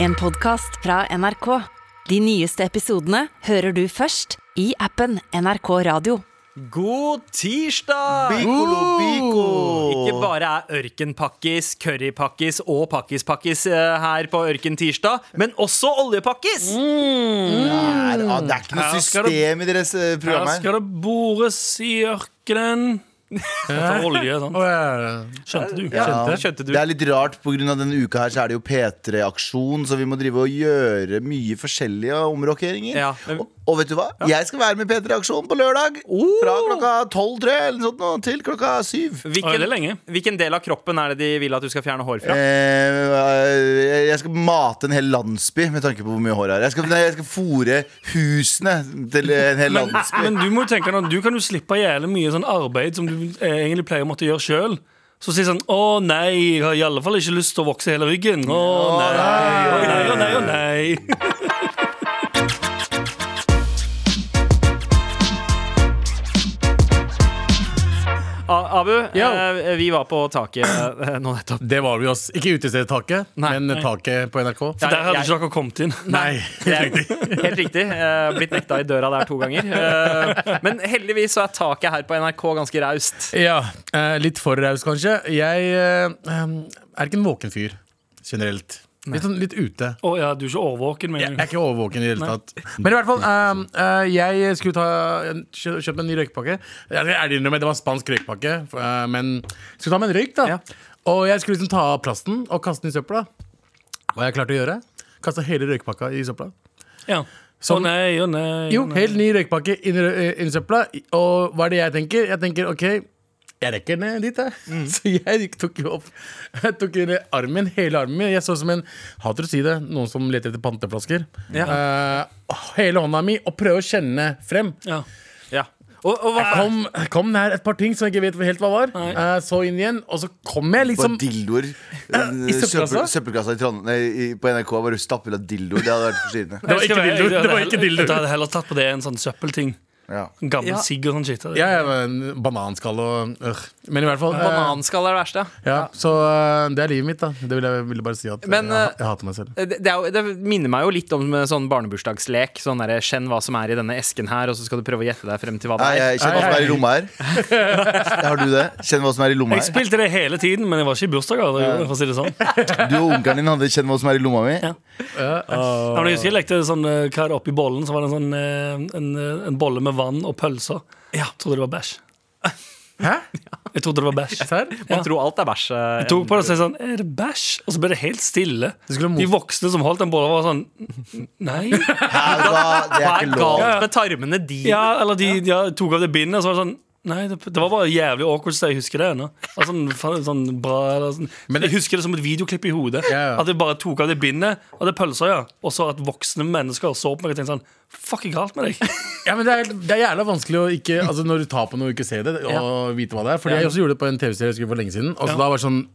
En podcast fra NRK. De nyeste episodene hører du først i appen NRK Radio. God tirsdag! Piccolo, pico. Ikke bare er ørkenpakkis, currypakkis og pakkispakkis eh, her på Ørkentirsdag, men også oljepakkis! Mm. Her, ah, Det er ikke noe Her skal det- system i deres eh, program Her her. skal det bores i ørkenen. Etter olje, sant? Skjønte du? Ja. Skjønte. Skjønte du? Det er litt rart, på grunn av denne uka her Så er det jo P3-aksjon, så vi må drive og gjøre mye forskjellige omrokeringer. Ja, men- og, og vet du hva? Jeg skal være med i P3-aksjon på lørdag. Fra klokka tolv tror jeg, eller noe sånt, nå, til klokka syv. Oi, det Hvilken, er lenge. hvilken del av kroppen er det de vil at du skal fjerne hår fra? Eh, jeg skal mate en hel landsby med tanke på hvor mye hår jeg har. Jeg skal, nei, jeg skal fòre husene til en hel landsby. Men du må jo tenke nå, du kan jo slippe jævlig mye sånn arbeid som du eh, egentlig pleier å måtte gjøre sjøl. Så si sånn 'Å nei, jeg har i alle fall ikke lyst til å vokse hele ryggen'. Å nei, å nei, å nei, å nei. A- Abu, Ja. eh, vi var på taket eh, nå nettopp. Det var vi oss. Ikke utestedstaket, Nei. men taket på NRK. Ja, Der hadde jeg- ikke dere kommet inn. Nei, helt riktig. Helt riktig. eh, Blitt nekta i døra der to ganger. Eh, Men heldigvis så er taket her på NRK ganske raust. Ja, eh, litt for raus, kanskje. Jeg eh, er ikke en våken fyr generelt. Litt, sånn, litt ute. Å ja, du er ikke årvåken, Jeg mener er du? ikke overvåken i det hele tatt. Men i hvert fall, ehm, eh, jeg skulle ta kjø- kjøpe en ny røykepakke. Jeg skal ærlig innrømme, det var en spansk røykepakke, f- eh, men skulle ta med en røyk, da. Ja. Og jeg skulle liksom ta av plasten og kaste den i søpla. Hva jeg klarte å gjøre? Kasta hele røykepakka i søpla. Ja. Å Som- nei, å nei. Jo, å nei. helt ny røykpakke inn i rø- eh, inn i søpla. Og hva er det jeg tenker? Jeg tenker ok, jeg rekker den dit, jeg. Mm. Så jeg tok jo opp Jeg tok inn i armen, hele armen min. Jeg så som en Hater å si det, noen som leter etter panteflasker. Eh, hele hånda mi, og prøve å kjenne frem. Ja. Ja. Og, og hva Kom, kom nær et par ting som jeg ikke vet helt hva var. Nei. Eh, så inn igjen, og så kom jeg Bare liksom dildoer. Eh, i søppelkassa? Søppel- Søppelkassa i Trondheim nei, i- på NRK var du stappfull av dildoer. Det hadde vært forstyrrende. Det var ikke dildo. Det var ikke dildo. Jeg hadde heller tatt på det en sånn søppelting. Ja. En gammel Ja. sigg og sånn shit. Ja, ja, men bananskall og øh. Men i hvert fall eh, Bananskall er det verste. ja. ja, Så eh, det er livet mitt, da. Det ville jeg ville bare si at eh, Men, eh, jeg, jeg hater meg selv. Det, det, er jo, det minner meg jo litt om eh, sånn barnebursdagslek. Sånn derre Skjenn hva som er i denne esken her, og så skal du prøve å gjette deg frem til hva det Nei, er. jeg kjenner hva som er i lomma her. Har du det? Kjenn hva som er i lomma Jeg her. spilte det hele tiden, men jeg var ikke i bursdager. da jeg gjorde det, For å si det sånn Du og onkelen din hadde 'kjenn hva som er i lomma mi'. Ja, men Jeg husker jeg lekte sånn eh, hva er det oppi bollen. Så var det en, sånn, eh, en, eh, en bolle med vann og pølser. Jeg trodde det var bæsj. Hæ? Jeg trodde det var bæsj. Serr? Man tror alt er bæsj. eh, Jeg tok på det og sa sånn Er det bæsj? Og så ble det helt stille. skulle mot- De voksne som holdt den bollen, var sånn Nei. Her, hva? Det Hva er er ikke lov. galt med tarmene dine? Ja, eller de, de tok av det bindet, og så var det sånn Nei, det, det var bare jævlig awkward, så jeg husker det ennå. Altså, sånn, faen, sånn bra, eller sånn. Men det- jeg husker det som et videoklipp i hodet. Ja, ja. At jeg bare tok av det bindet, og det er pølser, ja. Og så at voksne mennesker så på meg og tenkte sånn Fuck, er galt med deg? Ja, men det er, det er jævla vanskelig å ikke Altså når du tar på noe og ikke ser det, og vite hva det er. Fordi Ja. jeg også gjorde det på en TV-serie jeg husker for lenge siden. Og så Ja. da var det sånn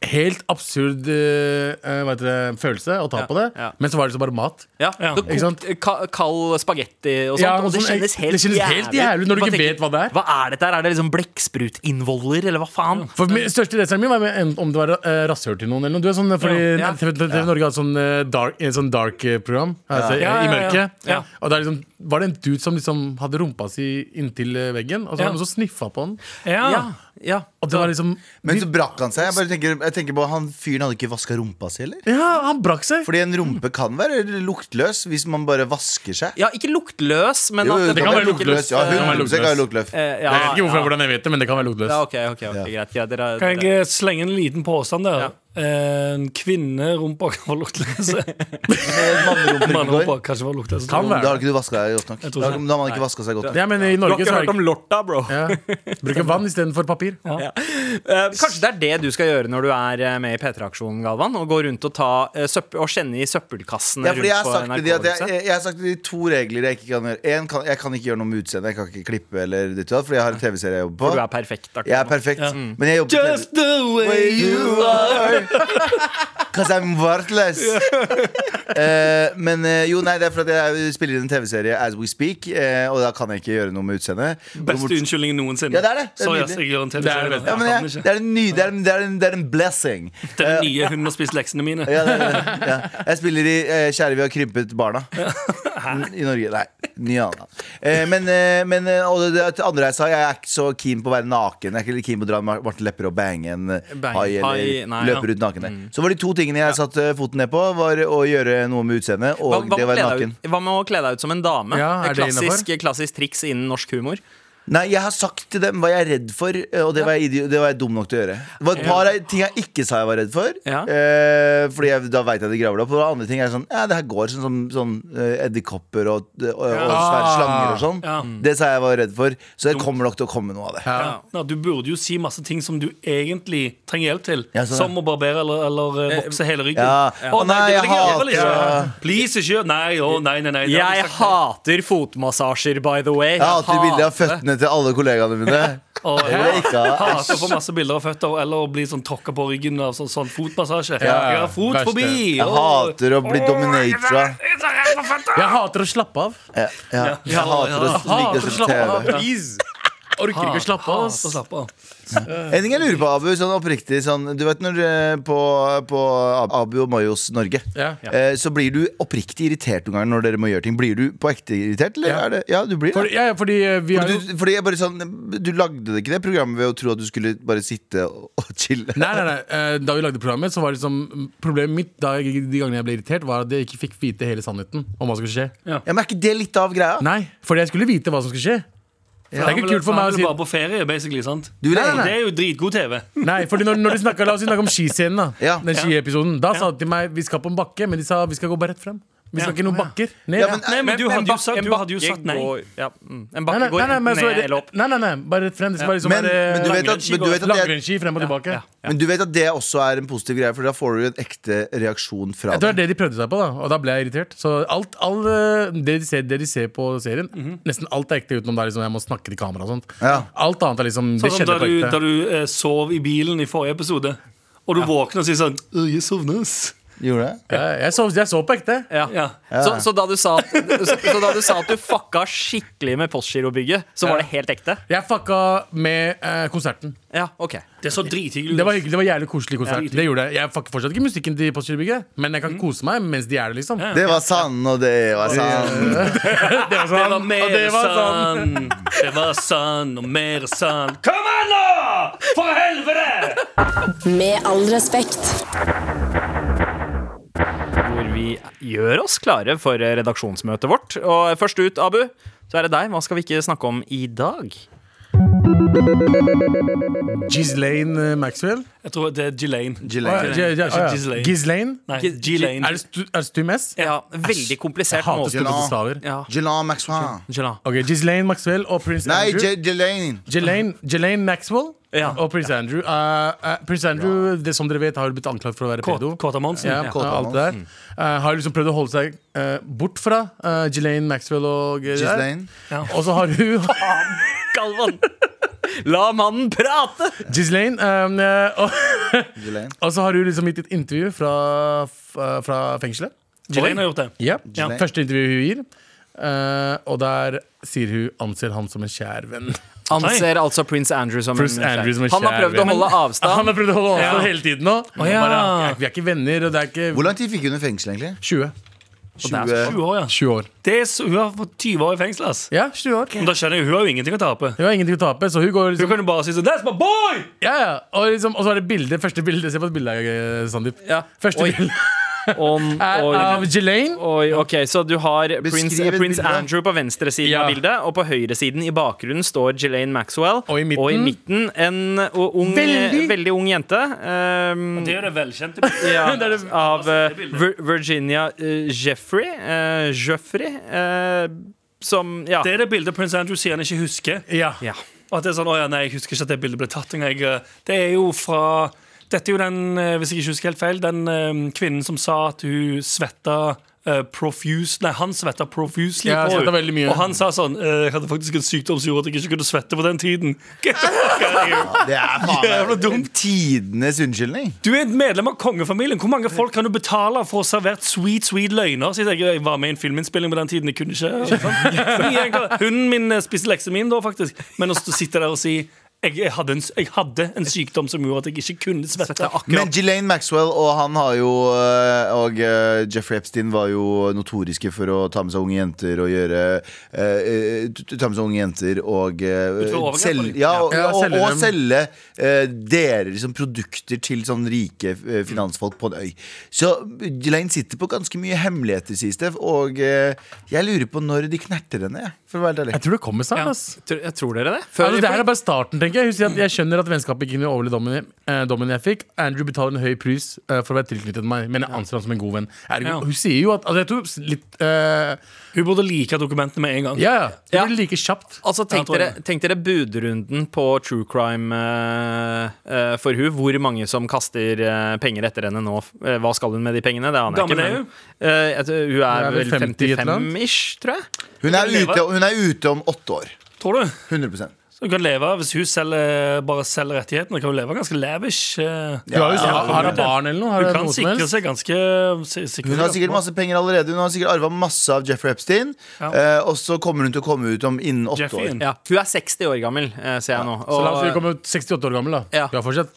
Helt absurd eh, eh, hva heter det, følelse å ta på det, ja. men så var det så bare mat. Ja, Ja, så ikke kokt, sant? ka- Kald spagetti og sånt. Ja, og det sånn, kjennes helt, det kjennes helt jævlig når du ikke vet hva det er. Hva er dette her? Er det liksom blekksprutinnvoller, eller hva faen? For min største redselen min var med en- om det var eh, rasshøl til noen. eller noe Du er sånn, eh, fordi Ja. Ja. TV, TV Norge hadde sånn eh, dark, eh, sånn dark-program Ja, altså, i ja, ja, ja. mørket. Ja. Og der liksom, var det en dude som liksom hadde rumpa si inntil eh, veggen, og Ja. så var det noen som sniffa på den. Ja, ja. Og det var liksom Men så brakk han seg. Jeg, bare tenker, jeg tenker på Han fyren hadde ikke vaska rumpa si heller. Ja, han brakk seg! Fordi en rumpe kan være luktløs hvis man bare vasker seg. ja ikke luktløs, men Jo, at det kan være luktløs. Ja, eh, 100% kan være luktløs. eh, ja, Jeg vet ikke hvorfor, ja. hvordan jeg vet det, men det kan være luktløst. Ja, ok, ok, ok, greit. greit dere, Kan dere. jeg eh, slenge en liten påstand der? En kvinnerumpa kan være luktløse. Mannerumpa Mannerumper. kanskje var luktløse. Kan Da være. har ikke du vaska deg godt nok. Da Jeg tror har ikke. da har man ikke vasket seg godt nok. Ja, men i Du har Norge ikke så er hørt det om lorta, bro? ja. Bruke vann istedenfor papir. Eh, kanskje det er det du skal gjøre når du er eh, med i P3-aksjonen, Galvan? Og gå rundt og, ta, eh, søpp- og kjenne i søppelkassene Ja, fordi jeg har rundt sagt på liksom? til de at jeg, NRK-huset? jeg, jeg har sagt til de to regler jeg ikke kan gjøre. En kan, jeg kan ikke gjøre noe med utseendet. Jeg kan ikke klippe eller ditt og datt, fordi jeg har en TV-serie jeg For du jobber er på. perfekt. akkurat Jeg er nå. perfekt, men jeg jobber på TV. Just the way you are. Cause I'm worthless Eh, Men eh, jo, nei, det er for at jeg spiller inn en tv-serie As we speak eh, Og da kan jeg ikke gjøre noe med utseendet Beste unnskyldningen noensinne. Ja, det er det. Det er Sorry, nydelig. ass, jeg gjør en Det er TV-serie. det. Jeg ja, men kan jeg, ikke. det, er en ny, det, er en, det, er en, det er en blessing Den nye hunden har spist leksene mine. ja, det, er- ja. Jeg spiller i eh, Kjære vi har krympet barna I Norge, nei, Nyana eh, Men, eh, men eh, og det, det andre jeg sa Jeg er ikke så keen på å være naken Jeg er ikke keen på å dra Mar- Martin Lepper og bange en eh, Bange. hai Hai, Eller nei, ja. Mm. løpe rundt naken der. Så var de to tingene jeg satt eh, foten ned på Var å gjøre noe med utseendet Og med det å å være kle deg naken ut- hva med å kle deg ut som en dame? Ja, er Et det klassisk, klassisk triks innen norsk humor. Nei, jeg har sagt til dem hva jeg er redd for, eh, og det var jeg, idi- det var jeg dum nok til å gjøre. Det var et par av ting jeg ikke sa jeg var redd for, Ja. eh, Fordi jeg, da veit jeg de graver det opp. Og det var andre ting jeg er sånn Ja, det her går sånn som sånn, eh, edderkopper og, og, og svære slanger og sånn. Ja. Det sa jeg var redd for, så det kommer nok til å komme noe av det. Ja. Nå, du burde jo si masse ting som du egentlig trenger hjelp til. Ja, så det. som å barbere eller, eller eh, vokse hele ryggen. ja. Å Å, nei, nei, det vil jeg i jeg hvert fall ikke. hater- Please, ikke gjør Nei, å nei, nei, nei. det har Jeg du sagt. hater fotmassasjer, by the way. Jeg hater bilder av føttene til alle kollegaene mine. Å, Det vil jeg ikke ha. Hater å få masse bilder av føtter eller å bli sånn tråkka på ryggen av sånn, sånn fotmassasje. Ja, Jeg har fot verste. forbi! Jeg å. hater å bli dominatra. Jeg hater å slappe av. Ja, ja. Jeg hater å ligge og se på TV. Please. Orker Ah. ikke å slappe av. Hater å ass. slappe av. En ting jeg lurer på, Abu, sånn oppriktig sånn, Du vet når eh, på, på Abu og Mayos Norge Ja. eh, Så blir du oppriktig irritert noen ganger når dere må gjøre ting Blir du på ekte irritert, eller Ja. er det? Ja, du blir For, det ja, ja, fordi eh, vi er fordi jo du, fordi jeg bare sånn, du lagde det ikke det programmet ved å tro at du skulle bare sitte og, og chille Nei, nei, nei. Eh, Da vi lagde programmet, så var det liksom Problemet mitt da jeg, de gangene jeg ble irritert, var at jeg ikke fikk vite hele sannheten om hva som skulle skje. Ja, men er ikke det litt av greia? Nei, fordi jeg skulle vite hva som skulle skje. det er Han ikke vil- kult for meg Han å vil si bare på ferie, basically. sant? Du vil Nei, egentlig- Det er jo dritgod TV. Nei, fordi når, når de snakket, La oss snakke om skiscenen, da. Ja. Den skiepisoden. Da sa de til meg vi skal på en bakke, men de sa vi skal gå bare rett frem. Vi skal Ja. ikke noen bakker. Ned. Ja, men- Nei, men du hadde jo sagt, du hadde jo sagt nei. Går, ja, mm. En Nei, bakke nei, nei, nei, men går så ned er eller opp. det, nei, nei, nei, bare rett frem. Det skal være liksom Men, men du være vet at, men du vet at, det, langrennsski frem og tilbake. ja. men du vet at det også er en positiv greie For da får du jo en ekte reaksjon fra Jeg tror dem det er det de prøvde seg på, da og da ble jeg irritert. Så alt, all, eh, det, de ser, det de ser på serien, Mhm. nesten alt er ekte utenom da liksom, jeg må snakke til kamera og sånt. Ja. Alt annet er liksom Sånn Det som skjedde da på du, ekte. da du eh, sov i bilen i forrige episode, og du våkner og sier sånn «Øh, Jeg sovner, ass. Gjorde det? Ja, jeg, så, jeg så på ekte. Ja. Ja. Så, så, da du sa at, så, så da du sa at du fucka skikkelig med Postgirobygget, så var det helt ekte? Jeg fucka med eh, konserten. Ja, ok Det så drithyggelig ut. Det var hyggelig, det var jævlig koselig konsert. Ja, det gjorde Jeg Jeg fucker fortsatt ikke musikken til Postgirobygget, men jeg kan Mhm. kose meg mens de er der, liksom. Det var sann, og det var sann Det var sånn, Det var og det mer var sånn. sann. Det var sann og mer sann. Kom an, nå! For helvete! Med all respekt. Hvor vi gjør oss klare for eh, redaksjonsmøtet vårt. Og eh, først ut, Abu, så er det deg. Hva skal vi ikke snakke om i dag? Ghislaine eh, Maxwell. Jeg tror det er Gillane. Å, ja, Gillette. ja, ja, Ikke ja. Ghislaine. Ghislaine? Nei, Gi- Er Gillane. det stu- er det stum S? Ja, veldig komplisert Hater måte. store bokstaver. Ja. Gillette Maxwell Angela. Ok, Ghislaine Maxwell og prins Nei, Andrew. Gillette Jelaine, Jelaine Maxwell Ja. og prins Andrew. Eh, eh, prins Andrew det som dere vet har blitt anklaget for å være pedo. Kåta Monsen. Ja, Ja. og alt det der. Eh, har liksom prøvd å holde seg eh, bort fra uh, Jelaine Maxwell og det der. Ghislaine Og så har hun Galvan! La mannen prate! Ghislaine. eh, og, Ghislaine. og så har hun liksom gitt et intervju fra, f- eh, fra fengselet. Gillane har gjort det. Ja, Ghislaine. Første intervju hun gir. Eh, og der sier hun 'anser han som en kjær venn'. Anser altså prins Andrew som Prince Andrew som en Han har kjær prøvd å venn. holde Han avstand. har prøvd å holde avstand Ja. hele tiden nå. ja. Bare, vi er ikke venner, og det er ikke Hvor lang tid fikk hun i fengsel, egentlig? 20. 20 20 altså år, ja. 20 år. Det er, så- hun har fått 20 år i fengsel, ass. Ja, 20 år. Men da skjønner jeg, hun har jo ingenting å tape. Hun har ingenting å tape, så hun går Hun liksom, kan jo bare si sånn That's my boy! ja, ja. Og, liksom, og så er det bilde, første bilde. Se på bildet, eh, Sandeep. Ja. Første Oi. bilde Om, er av oi, Jelaine. oi, ok, Så du har prins, Beskriv et prins bilde. Andrew på venstresiden Ja. av bildet, og på høyresiden i bakgrunnen står Ghislaine Maxwell. Og i midten- midten en og ung, Veldig- veldig. ung jente. ehm, Det er det velkjente. bildet. ja, Det er det- av eh, det bildet. Vir- Virginia eh, Jeffrey eh, Jeffrey eh, Som, ja Det er det bildet prins Andrew sier han ikke husker. Ja. Ja. Og at det er sånn, «Å ja, nei, jeg husker ikke at det bildet ble tatt engang. Jeg, eh, Det er jo fra Dette er jo den, eh, hvis jeg ikke husker helt feil, den eh, kvinnen som sa at hun svetta eh, eh, profuse Nei, han svetta profusely. Ja, på henne. jeg svettet veldig mye. Og han sa sånn eh, Jeg hadde faktisk en sykdom som gjorde at jeg ikke kunne svette på den tiden. Get the fuck out of here. Det er Jævla faen meg dumt. tidenes unnskyldning. Du er et medlem av kongefamilien. Hvor mange folk kan du betale for å ha servert sweet, sweet løgner? Sier jeg, jeg var med i en filminnspilling på den tiden. Jeg kunne ikke Sånn. Fordi jeg, Hunden min eh, spiste leksemin da, faktisk. Men å stå- sitte der og si jeg, jeg, hadde en, s- jeg hadde en sykdom som gjorde at jeg ikke kunne svette. Men Ghislaine Maxwell og han har jo øh, Og øh, Jeffrey Epstein var jo notoriske for å ta med seg unge jenter og gjøre øh, øh, t- Ta med seg unge jenter og øh, Utføre overgrep, selge eller? ja, og, Ja, og, selge og dem. selge øh, dere liksom produkter til sånn rike øh, finansfolk på en øy. Så Ghislaine sitter på ganske mye hemmeligheter, sies det. Og øh, jeg lurer på når de knerter henne, jeg, for å være helt ærlig. Jeg tror det kommer snart. ass Tror, jeg tror dere det? Før, Altså, det her er bare starten, tenker jeg. Husk at jeg skjønner at vennskapet ikke kunne overleve dommen, eh, dommen jeg fikk. Andrew betaler en høy pris eh, for å være tilknyttet meg, men jeg anser ham som en god venn. Ergo, Ja. Hun sier jo at altså, Jeg tror litt eh, Hun burde like dokumentene med en gang. Ja, ja. Det Ja. blir like kjapt. Altså, tenk, Ja, dere, jeg tror tenk dere budrunden på true crime eh, eh, for hun Hvor mange som kaster eh, penger etter henne nå. Eh, hva skal hun med de pengene? Det aner jeg Gammel ikke. er Men, eh, jeg tror- hun er, Hun er vel vel 50 i et eller annet. 55-ish, tror jeg. Hun er leve. ute, hun er ute om åtte år. Tror du? 100 Så hun kan leve Hvis hun selger, bare selger rettighetene, kan hun leve ganske lavish. eh. Du har jo ja, har hun barn eller noe? Har Hun hun kan noe som sikre helst? seg ganske si- Hun sikre seg har ganske sikkert bra. masse penger allerede. Hun har sikkert arva masse av Jeffrey Epstein. Eh, og så kommer hun til å komme ut om innen åtte Jeffrey. år. Ja, hun er 60 år gammel, eh, ser jeg nå. Så la oss si hun Og, kommer 68 år gammel, da. Ja. Du har fortsatt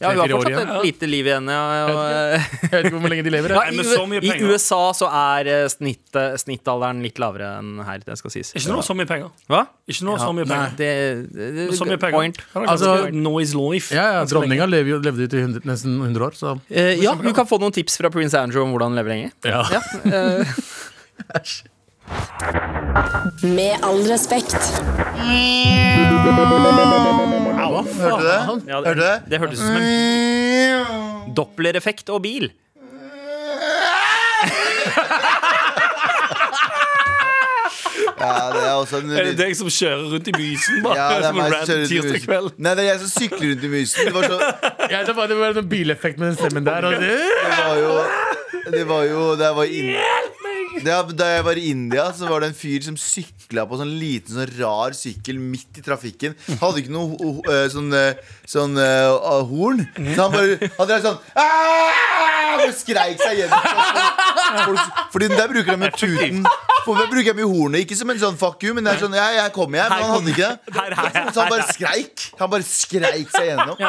ja, hun har tre-fire år fortsatt igjen. et lite liv igjen. Ja, og, Jeg vet ikke hvor lenge de lever. ja, jeg. Nei, i, men så mye I penger. USA så er eh, snitt, snittalderen litt lavere enn her. Det skal sies. Ikke noe så mye penger. Hva? Ikke noe så mye Nei, penger. det, det, det, Så mye penger. point. Hun har Altså, ganske noise life. Ja, ja, Altså, ganske lenge. Dronninga lever jo- levde jo til 100, nesten 100 år, så Eh, ja, du kan få noen tips fra Prince Andrew om hvordan leve lenge. Ja, eh, Med all respekt. Hørte du det? Ja, Hørte du det? Det hørtes ut Mm. som en dopplereffekt og bil. Ja, det er også en Er det deg som kjører rundt i mysen bare? ja, det er som en meg som random kjører rundt i tirsdag mysen. kveld? Nei, det er jeg som sykler rundt i mysen. Det var, så, ja, Det var det var en bileffekt med den stemmen der. Og det. det var jo Det var jo da jeg var i Ind- da, da jeg var i India, så var det en fyr som sykla på sånn liten, sånn rar sykkel midt i trafikken. Han hadde ikke noe ho- ho- eh, sånn, eh, sånn eh, horn. Så han bare Han drev sånn «Ah!» Og skreik seg gjennom. Folk, fordi der bruker de jo tuten. For der bruker de jo hornet, ikke som en sånn fuck you, men det er sånn ja, jeg kommer, jeg. Men han hadde ikke det. Her, her, her. Så han bare skreik. Han bare skreik seg gjennom.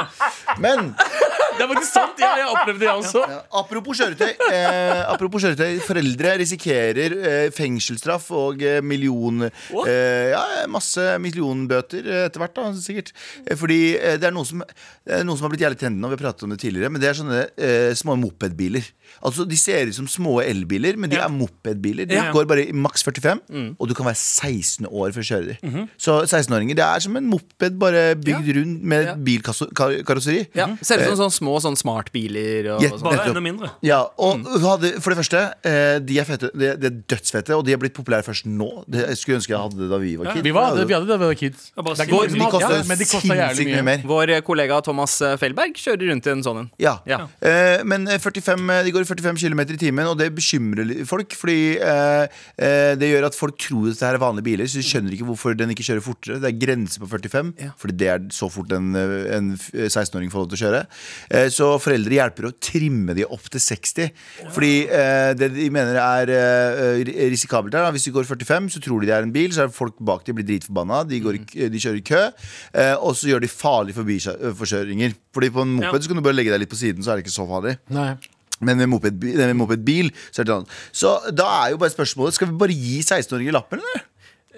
Men det er faktisk sant! Ja, jeg opplevde det, jeg også. Apropos kjøretøy. Eh, apropos kjøretøy Foreldre risikerer eh, fengselsstraff og eh, million eh, Ja, masse millionbøter eh, etter hvert, da, sikkert. Eh, Fordi eh, det er noe som, eh, noe som har blitt jævlig trendy nå, vi har pratet om det tidligere, men det er sånne eh, små mopedbiler. Altså, De ser ut som små elbiler, men de er mopedbiler. De Ja. går bare i maks 45, Mm. og du kan være 16 år for å kjøre de. Så 16-åringer, det er som en moped bare bygd rundt med Mhm. Ja. bilkarosseri. Ja, Ser Eh. ut som sånne små sånn smartbiler. Og, Ja, og sånn. Bare Nettopp. enda mindre. Ja, Mm. og hun hadde, For det første, eh, de er, fete, de, de er dødsfete, og de er blitt populære først nå. Det, jeg skulle ønske jeg hadde det da vi var kids. Vi, var, vi hadde det da vi var kids. Jeg bare Det er sier- ikke mange som de hadde kosta det, men de kosta jævlig sinnssykt mye mer. Vår kollega Thomas eh, Felberg kjører rundt i en sånn en. Ja. Ja. Eh, men eh, 45, eh, de går i 45 km i timen, og det bekymrer li- folk. Fordi eh, eh, det gjør at folk tror at det her er vanlige biler, så de skjønner ikke hvorfor den ikke kjører fortere. Det er grense på 45, fordi det er så fort en, eh, en f- 16-åring får lov til å kjøre. Eh, så foreldre hjelper å trimme de opp til 60. Fordi eh, det de mener er eh, ri- risikabelt her, da. hvis de går 45, så tror de det er en bil, så er folk bak de blir dritforbanna, de, går i, k- de kjører i kø, eh, og så gjør de farlige forbiforkjøringer. Fordi på en moped Ja. så kan du bare legge deg litt på siden, så er det ikke så farlig. Nei. Men med mopedbi- nei, med mopedbil så er det annet. Så da er jo bare spørsmålet Skal vi bare gi 16-åringer lappen, eller?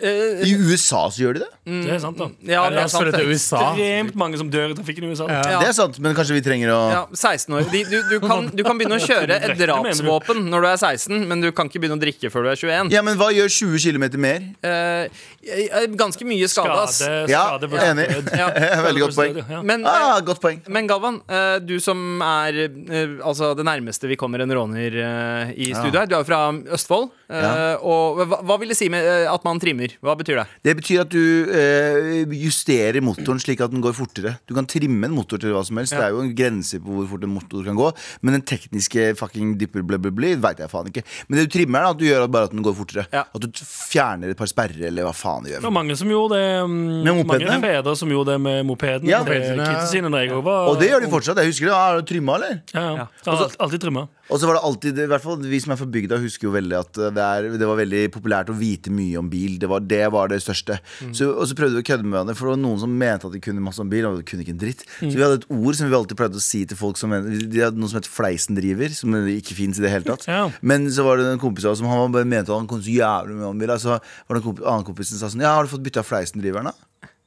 I USA så gjør de det. Det er sant, da. Mm. Ja, La det er oss følge sant. til det. USA. Ekstremt mange som dør i trafikken i USA. Ja. Det er sant, men kanskje vi trenger å Ja, 16 år. De, du, du, kan, du kan begynne å kjøre et drapsvåpen når du er 16, men du kan ikke begynne å drikke før du er 21. Ja, men hva gjør 20 km mer? Eh, eh, ganske mye skade, Skade, ass. skade Ja, versus enig. død. Ja. Veldig godt Skade poeng. versus død, ja. Men eh, Ah, godt poeng. Men Galvan, eh, du som er eh, altså det nærmeste vi kommer en råner eh, i studio her. Du er jo fra Østfold. eh, Ja. Og hva, hva vil det si med eh, at man trimmer? trimmer. Hva betyr det? Det betyr at du eh, justerer motoren slik at den går fortere. Du kan trimme en motor til hva som helst. Det er jo en grense på hvor fort en motor kan gå. Men den tekniske fucking dypper bla, bla, bla, veit jeg faen ikke. Men det du trimmer, er at du gjør bare at den går fortere. Ja. At du t- fjerner et par sperrer, eller hva faen du Det var gjør. mange som gjorde det mm, Med mopedene? Mange fedre som gjorde det med mopeden. Ja. til Mopedene, ja. kidsa sine når jeg også var Og det gjør de fortsatt. Jeg husker det. Har du trimma, eller? Ja, ja. Ja. Alt- Alltid trimma. Og så var det alltid, i hvert fall Vi som er fra bygda, husker jo veldig at eh, det, er, det var veldig populært å vite mye om bil. Det var det, var det største. Så, og så prøvde vi å kødde med hverandre, for det var noen som mente at de kunne masse om bil. Og de kunne ikke en dritt Så vi hadde et ord som vi alltid pleide å si til folk som De hadde noe som het Fleisendriver, som ikke fins i det hele tatt. Ja. Men så var det en kompis av oss som han bare mente at han kunne så jævlig mye om bil. da. Så var det en komp annen kompis som sa sånn Ja, har du fått bytta Fleisendriveren, da?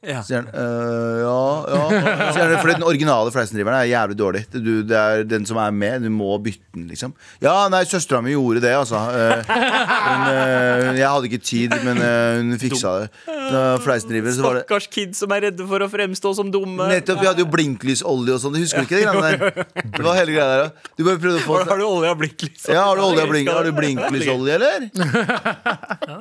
Ja. Så sier han «Øh, ja, ja. Så sier han, fordi den originale fleisendriveren er jævlig dårlig. Det, du, det er den som er med, du må bytte den, liksom. Ja, nei, søstera mi gjorde det, altså. Eh, Hun, eh, jeg hadde ikke tid, men eh, hun fiksa det. Da Fleisendriver, så var det Stakkars kids som er redde for å fremstå som dumme. Nettopp, Vi hadde jo blinklysolje og sånn. Husker du ikke det greiene der? Det var hele greia der også. Du bare prøvde å få Har, har du olje av blikk, liksom? ja, har du, olje og blink, har du blinklysolje, eller?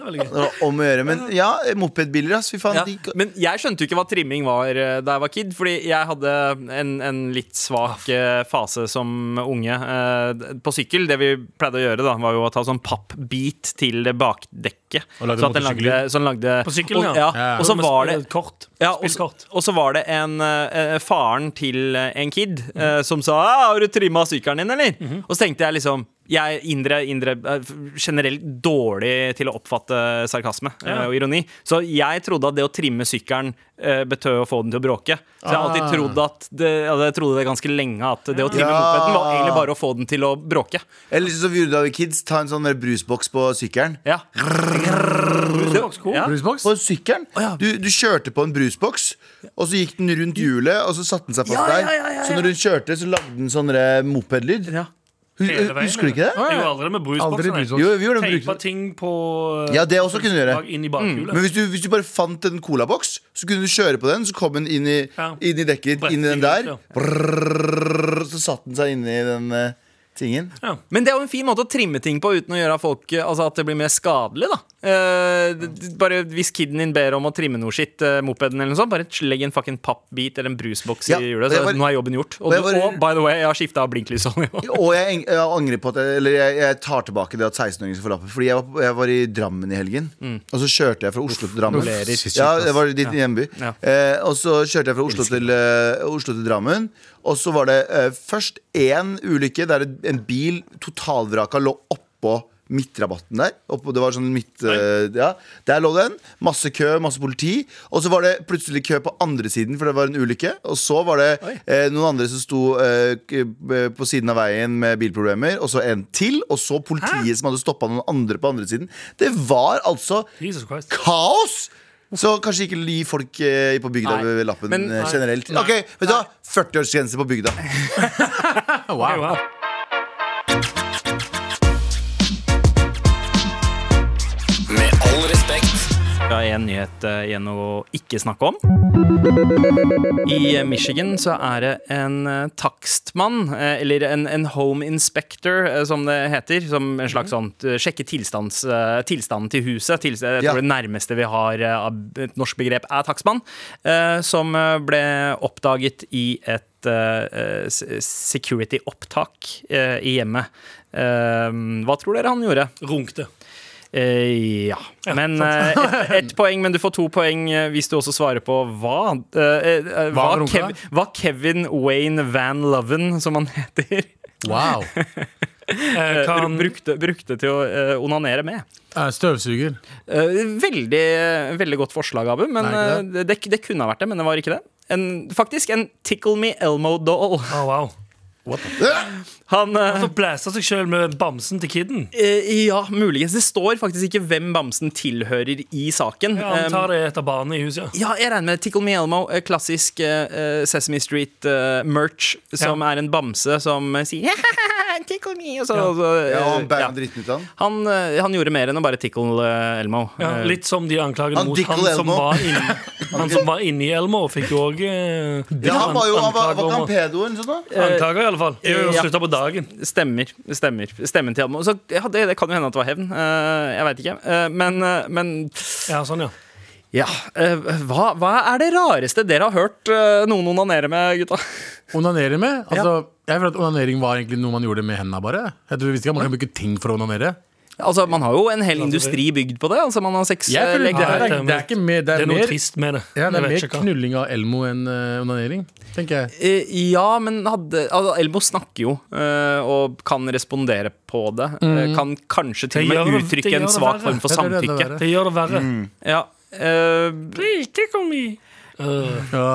veldig Det var om å gjøre. Men ja, mopedbiler, ass. Fy faen. Ja, de- men jeg skjønte jo ikke hva trimming var eh, da jeg var kid, fordi jeg hadde en, en litt svak eh, fase som unge eh, d- på sykkel. Det vi pleide å gjøre, da, var jo å ta sånn pappbit til det bakdekket. Og lagde Så at den lagde, motorsykkel. så den lagde På sykkelen, og, ja. Ja. Og så var det Kort. ja, og, så- Spillkort. og så var det en eh, eh, faren til eh, en kid eh, som sa «Ah, 'Har du trimma sykkelen din, eller?' Og så tenkte jeg liksom Jeg er indre, indre eh, f- generelt dårlig til å oppfatte sarkasme eh, og ironi. Så jeg trodde at det å trimme sykkelen eh, betød å få den til å bråke. Så jeg har alltid Ah. trodd at det, ja, jeg trodde det ganske lenge at det å trimme Ja. mopeden var egentlig bare å få den til å bråke. Eller sånn som vi gjorde da vi var kids, ta en sånn der brusboks på sykkelen. Ja. Ja. Brusbox? På sykkelen. du, du kjørte på en brusboks, og så gikk den rundt hjulet, og så satte den seg fast der. Så når hun kjørte, så lagde den sånn der mopedlyd. Ja. Hus- Hele veien, Husker du ikke det? Jeg gjorde aldri det med Aldri brusboksen. jeg. brusbox. Jo, vi gjorde det med Teipa brus- ting på eh, Ja, det Mm. også kunne du gjøre. inn i bakhjulet. Men hvis du, hvis du bare fant en colaboks, så kunne du kjøre på den, så kom den inn i, Ja. inn i dekket ditt, inn i den der. Ja. Brrrr, så satt den seg inni den eh, tingen. Men det er jo en fin måte å trimme ting på uten å gjøre folk, eh, altså at det blir mer skadelig. da Eh, d- d- Bare Hvis kiden din ber om å trimme noe skitt, eh, mopeden eller noe sånt, bare legg en fucking pappbit eller en brusboks Ja, i hjulet. og jeg Så var- nå er jobben gjort. Og, og jeg du, var- og by the way, jeg har skifta blinklyset òg. Og jeg, eng- jeg angrer på at jeg, Eller jeg, jeg tar tilbake det at 16-åringer skal få lappen. Fordi jeg var, på- jeg var i Drammen i helgen. Og så kjørte jeg fra Oslo til Drammen. Uff, shit, shit, Ja, ass. det var ditt hjemby. Ja. Eh, og så kjørte jeg fra Oslo til, eh, Oslo til Drammen. Og så var det eh, først én ulykke der en bil totalvraka lå oppå midtrabatten der. Oppå, det var sånn midt eh, ja. Der lå den. Masse kø, masse politi. Og så var det plutselig kø på andre siden, for det var en ulykke. Og så var det eh, noen andre som sto eh, k- eh, på siden av veien med bilproblemer. Og så en til, og så politiet som hadde stoppa noen andre på andre siden. Det var altså Jesus Christ. kaos! Så kanskje ikke gi folk eh, på bygda Nei. ved lappen Men- eh, generelt. Ok, vet du hva? 40-årsgrense på bygda. Wow. Wow. Med all respekt. Jeg har en nyhet eh, igjen å ikke snakke om. I eh, Michigan så er det en eh, takstmann, eh, eller en, en home inspector, eh, som det heter. Som en slags sånn eh, sjekke tilstands, eh, tilstanden til huset. Tilst jeg Ja. tror det nærmeste vi har eh, av et norsk begrep, er takstmann. eh, Som eh, ble oppdaget i et eh, eh, s- security-opptak eh, i hjemmet. Eh, Hva tror dere han gjorde? Runkte. Eh, ja. Men eh, ett ett poeng, men du får to poeng eh, hvis du også svarer på hva. Eh, eh, hva, var runka? Kev, hva Kevin Wayne Van Loven, som han heter, Wow. Eh, kan, brukte, brukte til å eh, onanere med. Eh, Støvsuger. Eh, veldig, veldig godt forslag, Abu. Men Er eh, det, det kunne ha vært det, men det var ikke det. En, faktisk en Tickle Me Elmo-doll. Å, wow. Han eh, Så blæsta seg sjøl med bamsen til kiden. eh, Ja, muligens. Det står faktisk ikke hvem bamsen tilhører i saken. Ja, han Eh, tar det etter barnet i huset. Ja, jeg regner med Tickle Me Elmo, eh, klassisk eh, eh, Sesame Street-merch, som er en bamse som eh, sier Tickle me! Og så, og så, eh, Ja, han ja. bærer dritten ut av den. Han, eh, han gjorde mer enn å bare tickle eh, Elmo. Ja, Eh, litt som de anklagene Han mot Dickel han som, Elmo. var inni, han som var inni Elmo, fikk jo eh, òg Ja, han var jo han var, var ikke han pedoen sånn da? Anklager i i alle fall. Jo, eh, jo. Slutta på dagen. Stemmer. stemmer Stemmen til Almo. Så ja, det, det kan jo hende at det var hevn. Eh, jeg veit ikke. Eh, men, eh, men Ja, sånn, ja. Ja. eh, hva, hva er det rareste dere har hørt eh, noen onanere med, gutta? Onanere med? Altså, Jeg føler at onanering var egentlig noe man gjorde med hendene bare. Jeg tror vi visste ikke at Man kan bruke ting for å onanere. Altså, Man har jo en hel industri bygd på det. Altså, Man har seks Jeg eh, føler det legger- er, Nei, det er, det er ikke mer Det Det er er noe mer, trist med det. ja, det Jeg er vet mer ikke hva. knulling av Elmo enn eh, onanering, tenker jeg. Eh, Ja, men hadde, altså, Elmo snakker jo eh, og kan respondere på det. Eh, Kan kanskje til og Det med gjør det- det uttrykke gjør en det svak verre. form for Det gjør det samtykke. verre. Det gjør det verre. Mm. Ja, eh, Ikke kom i uh, Ja.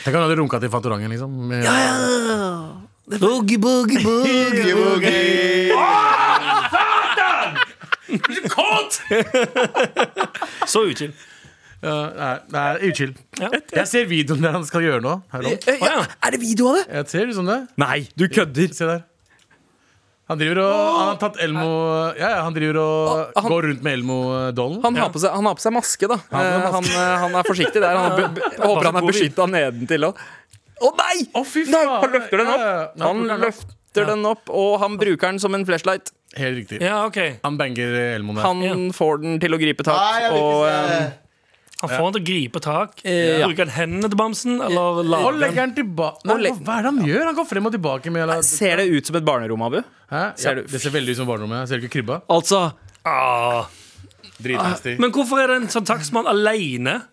Tenk om du hadde runka til Fantorangen, liksom. Med, Boogie, boogie, boogie. Kåt! Så utkild. Ja, nei, nei, uchill. Ja. Jeg ser videoen der han skal gjøre noe. Her om. eh, ja. Er det video av det? Jeg ser liksom det. Nei, du kødder! Se der. Han driver og Han har tatt Elmo Ja, ja, han driver og Å, han- går rundt med Elmo-dollen. Han, har på seg, han har på seg maske, da. Eh, har på Han, eh, han er forsiktig der. Han er be- be- håper han er beskytta nedentil òg. Å nei! Å, fy nei! faen. Han løfter den Ja, ja, ja. opp. Nei, Han plukker den opp. løfter den opp, og han bruker den som en flashlight. Helt riktig. Ja, OK. Han banger Elmo der. Han får den til å gripe tak. Og eh, Han får han til å gripe tak. Ja. Bruker han hendene til bamsen, eller og lager legger den tilbake Nei, Og leg- Hva er det han gjør? Han går frem og tilbake med eller- eh, ser det ut som et barnerom, Abu? Hæ? ser Ja, du- Det ser veldig ut som barnerommet. Ser du ikke krybba? Altså ah. Dritnasty. Men hvorfor er det en sånn takstmann aleine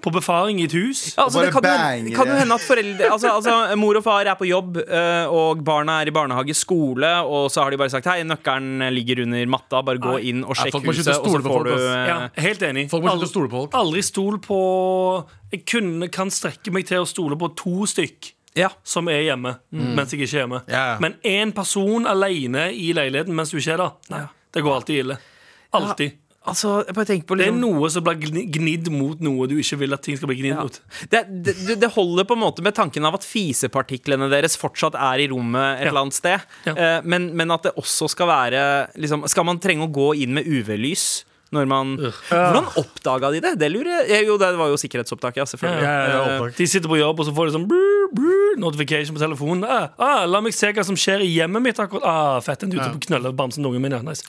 på befaring i et hus? Ja, altså, Og det kan, bare jo- banger kan jo det. hende at foreldre altså, altså, Mor og far er på jobb, eh, og barna er i barnehage, skole, og så har de bare sagt hei, nøkkelen ligger under matta, bare gå inn og sjekk folk må huset, slutte å og så stole på får folk, du ass. eh, Ja, helt enig. Folk må slutte Aldri- å stole på folk. Aldri stol på Jeg kunne, kan strekke meg til å stole på to stykk Ja. som er hjemme, mens jeg ikke er hjemme. Mm. Ja. Men én person aleine i leiligheten mens du ikke er der, nei, det går alltid ille. Alltid. Altså, jeg bare tenker på Det er liksom, noe som blir gni- gnidd mot noe du ikke vil at ting skal bli gnidd ja. mot. det, det, du- det holder på en måte med tanken av at fisepartiklene deres fortsatt er i rommet et Ja. eller annet sted, Ja. Eh, men, men at det også skal være liksom, Skal man trenge å gå inn med UV-lys? Når man, hvordan oppdaga de det? Det lurer jeg Jo, det var jo sikkerhetsopptaket, ja, selvfølgelig. Eh, Ja, ja, det er opptak. De sitter på jobb, og så får de sånn brr, brr, notification på telefonen. Ah, ah, la meg se hva som skjer i hjemmet mitt akkurat. Ah, fett, en ute på knølle bamsen til ungen min. Ja, nice.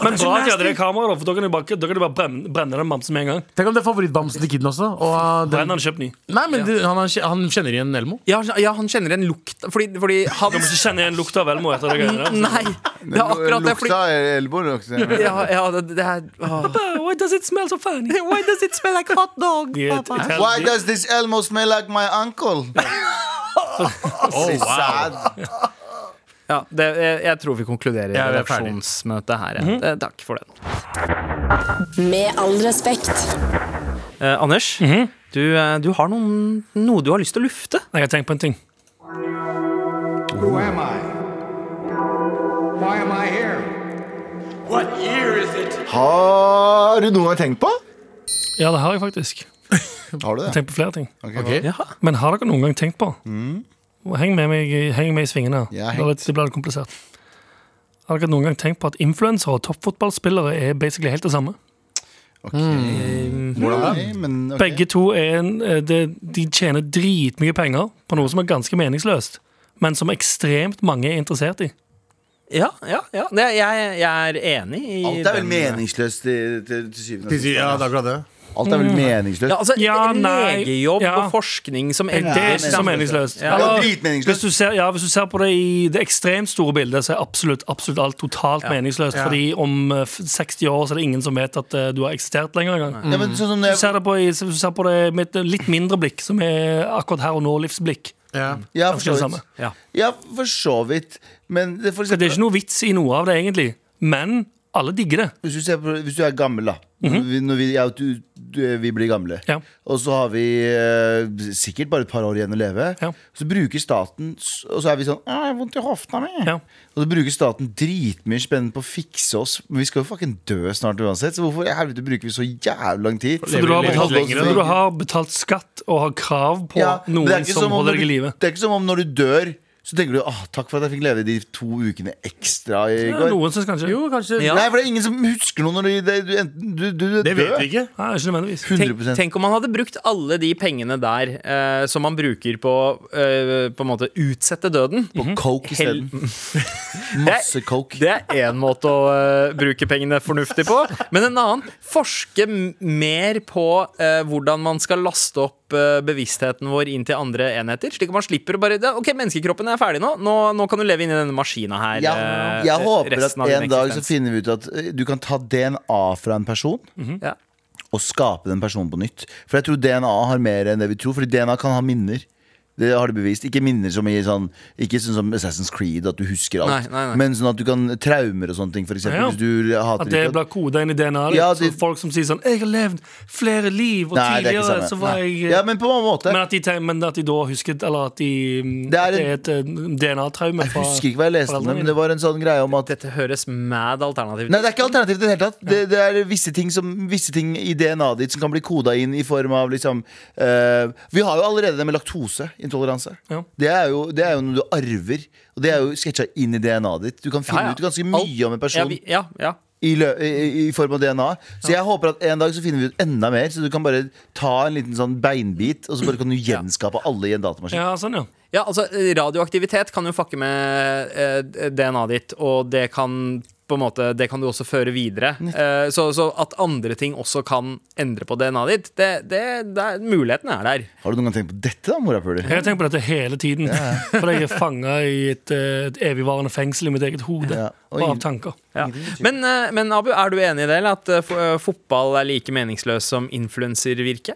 Men bra at de hadde det kameraet, da, for da kan de bare, da kan de bare brenne, brenne den bamsen med en gang. Tenk om det er favorittbamsen til kiden også. Og uh, den, Brenner den, kjøp ny. nei, men det- han, han, han kjenner igjen Elmo. Ja, ja, han kjenner en lukt Fordi, fordi han Du må ikke kjenne igjen lukta av Elmo etter det greiene der. altså. Nei, det er akkurat det fordi, Lukta elbow også. ja, ja, det, det er åh. Why does it smell so funny? Why does it smell like hot dog? De er et pappa? itali- Why does this Elmo smell like my uncle? oh, wow. Ja, det, jeg, jeg tror vi konkluderer Ja, vi er ferdig. redaksjonsmøtet her ja. Eh, Takk for det Med all respekt. eh, Anders, du, eh, du har noen, noe du har lyst til å lufte Nei, jeg har tenkt på en ting. Who am I? Why am I here? What year is it? Har du noen gang tenkt på? Ja, det har jeg faktisk. Har du det? Tenkt på flere ting. Ok. Men har dere noen gang tenkt på Heng med meg i- heng med i svingene. Jeg Mm. Ja, har hengt. det, blir- det blir litt komplisert. Har dere noen gang tenkt på at influensere og toppfotballspillere er basically helt det samme? Ok. Hvordan da? Nei, men ok. Begge to er en, eh, det, de tjener dritmye penger på noe som er ganske meningsløst, men som ekstremt mange er interessert i. Ja, ja, ja det, jeg, jeg er enig i Alt er vel den- eh, meningsløst til, til, til syvende og Ja, det er sist. akkurat det. Alt er vel meningsløst. ja, altså, Ja, nei. Legejobb Ja. og forskning som Det er ikke så meningsløst. meningsløst. Ja, Eller, dritmeningsløst. Hvis du ser, ja, hvis du ser på det i det ekstremt store bildet, så er absolutt, absolutt alt totalt meningsløst. Ja. Fordi om eh, f- 60 år så er det ingen som vet at eh, du har eksistert lenger engang. Ja, men sånn som Hvis du jeg, ser det på, i- hvis du ser på det med et litt mindre blikk, som er akkurat her og nå-livsblikk. Ja. ja, Det for så vidt. Ja. Ja, for så vidt. Men det, for Så det er eksempel, ikke noe vits i noe av det, egentlig. Men alle digger det. hvis, du ser på, hvis du er gammel, da. vi, når vi, ja, du, du, vi blir gamle. Mhm. Ja. Og så har vi eh, sikkert bare et par år igjen å leve. Ja. Så bruker staten s- Og så er vi sånn «Å, Jeg har vondt i hofta mi. Ja. Og så bruker staten dritmye spennende på å fikse oss. Men vi skal jo fucking dø snart uansett, så hvorfor i helvete bruker vi så jævlig lang tid? Så du har, lever betalt, lenger, så da. du har betalt skatt og har krav på Ja, men det er noen ikke som om holder når deg i du- live. Det er ikke som om når du dør så tenker du ah, takk for at jeg fikk leve de to ukene ekstra i Ja, går. Noen syns kanskje Jo, kanskje Ja. Nei, for det er ingen som husker noe når du, det, du, enten- du, du, du Det vet vi ikke. Nei, ikke nødvendigvis. Tenk, 100 tenk om man hadde brukt alle de pengene der eh, som man bruker på eh, På en måte utsette døden. på coke Hell- isteden. Masse coke. Det er én måte å eh, bruke pengene fornuftig på. Men en annen forske m- mer på eh, hvordan man skal laste opp eh, bevisstheten vår inn til andre enheter. Slik at man slipper å bare ja, OK, menneskekroppen er ferdig nå. Nå, nå kan du leve inni denne maskina her. Jeg, eh, jeg håper at resten av din en dag så eksistens. finner vi ut at eh, du kan ta DNA fra en person. ja. og skape den personen på nytt. For jeg tror DNA har mer enn det vi tror, Fordi DNA kan ha minner. Det har det bevist. Ikke minner som i sånn Ikke sånn som Assassin's Creed, at du husker alt. Nei, nei, nei. Men sånn at du kan traumer og sånne ting, for eksempel. Ja. Hvis du hater At det ikke blir koda inn i DNA-et. Ja, så det- folk som sier sånn 'Jeg har levd flere liv', og Nei, det er ikke tidligere samme. så var Nei. eh, jeg eh, Ja, men på en måte. Men at, de, te- men at de da husket Eller at de mm, Det er at det er et eh, DNA-traume Jeg fra husker ikke hva jeg leste om det, foreldrene men det var en sånn greie om at Dette høres mad alternativt ut. Nei, det er ikke alternativt i det hele tatt. Det, det er visse ting, som, visse ting i DNA-et ditt som kan bli koda inn i form av liksom eh, Vi har jo allerede det med laktoseintoleranse. Ja. Det, er jo- det er jo noe du arver. Og det er jo sketsja inn i DNA-et ditt. Du kan finne Ja, ja. ut ganske Alt- mye om en person. Ja, vi, ja, ja. i, lø i, i form av DNA. Så jeg håper at en dag så finner vi ut enda mer, så du kan bare ta en liten sånn beinbit, og så bare kan du gjenskape alle i en dine. datamaskin. Ja, sånn, ja. Ja, altså Radioaktivitet kan jo fucke med eh, DNA-et ditt, og det kan på en måte, det kan du også føre videre. Eh, så, så at andre ting også kan endre på DNA-et ditt, det, det, det er, muligheten er der. Har du noen gang tenkt på dette, da, morapuler? Jeg har tenkt på dette hele tiden. For jeg er fanga i et, eh, et evigvarende fengsel i mitt eget hode. Ja. Oi. Bare av tanker. Ja. Men, eh, men Abu, er du enig i det, eller at eh, fo- eh, fotball er like meningsløs som influenservirke?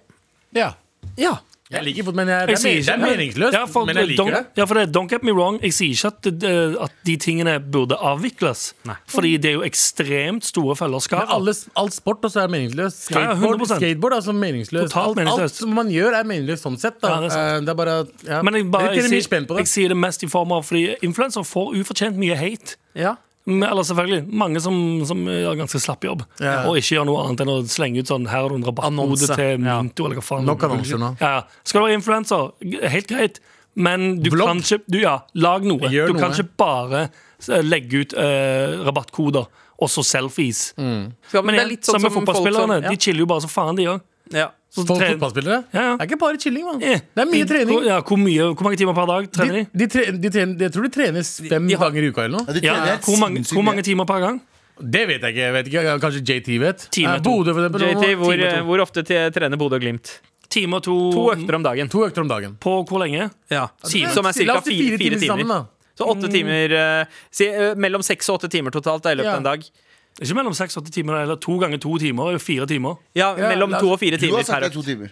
Ja. Ja. Jeg liker fotball, men jeg, det, er, sier men- det ikke- er meningsløst. Ja, for, men jeg liker don't, det. Ja, for det, don't get me wrong, jeg sier ikke at, eh, at de tingene burde avvikles. Nei. Fordi det er jo ekstremt store Men fellesskap. alle, all sport også er meningsløst. Ja, ja, Skateboard, 100%. skateboard er også meningsløst. Totalt Alt- meningsløst. Alt som man gjør, er meningsløst sånn sett. Da. Ja, det er sant. Eh, det er bare at- ja. Men jeg, bare, Dere tjener jeg, mye spenn på sier, jeg det. sier det mest i form av fordi influensere får ufortjent mye hate. ja. Men, eller selvfølgelig, Mange som, som gjør ganske slapp jobb, Ja. og ikke gjør noe annet enn å slenge ut sånn Her har du en rabattkode Annonse. til Ja. Minto, eller hva faen. Nok annonser nå. Ja. Skal du være influenser, g- helt greit, men du Vlogg. kan ikke du, Ja, lag noe. Gjør du kan noe. ikke bare s- legge ut eh, rabattkoder og så selfies. Mm. Skal- Men det er igjen, litt sånn samme som folk fotballspillerne. som- De chiller jo bare så faen, de òg. Ja. Ja. Folk fotballspillere? Ja, ja. Det er ikke bare chilling, man. Eh, Det er mye trening. Ja, hvor, mye, hvor mange timer per dag trener de? De, de, tre, de trener, jeg tror de trenes fem de har- ganger i uka eller noe. Ja, de Ja, trener helt hvor, mange, sinnssykt hvor mange mye. timer per gang? Det vet jeg ikke. Jeg vet ikke. Kanskje JT vet. Time Eh, to. Bodø, for eksempel. JT, hvor, Time to. hvor ofte t- trener Bodø og Glimt? Time og to, To økter om dagen. To økter om dagen. på hvor lenge? Ja. Som er La ca. oss si fire, fire sammen, timer. da. Så Mm. åtte timer eh, si, eh, Mellom seks og åtte timer totalt da, i løpet av Ja. en dag. Ikke mellom seks og åtte timer, eller to ganger to timer er jo fire timer. Ja, Ja, mellom la oss- to og fire Du timer har sagt per det er økt. to timer.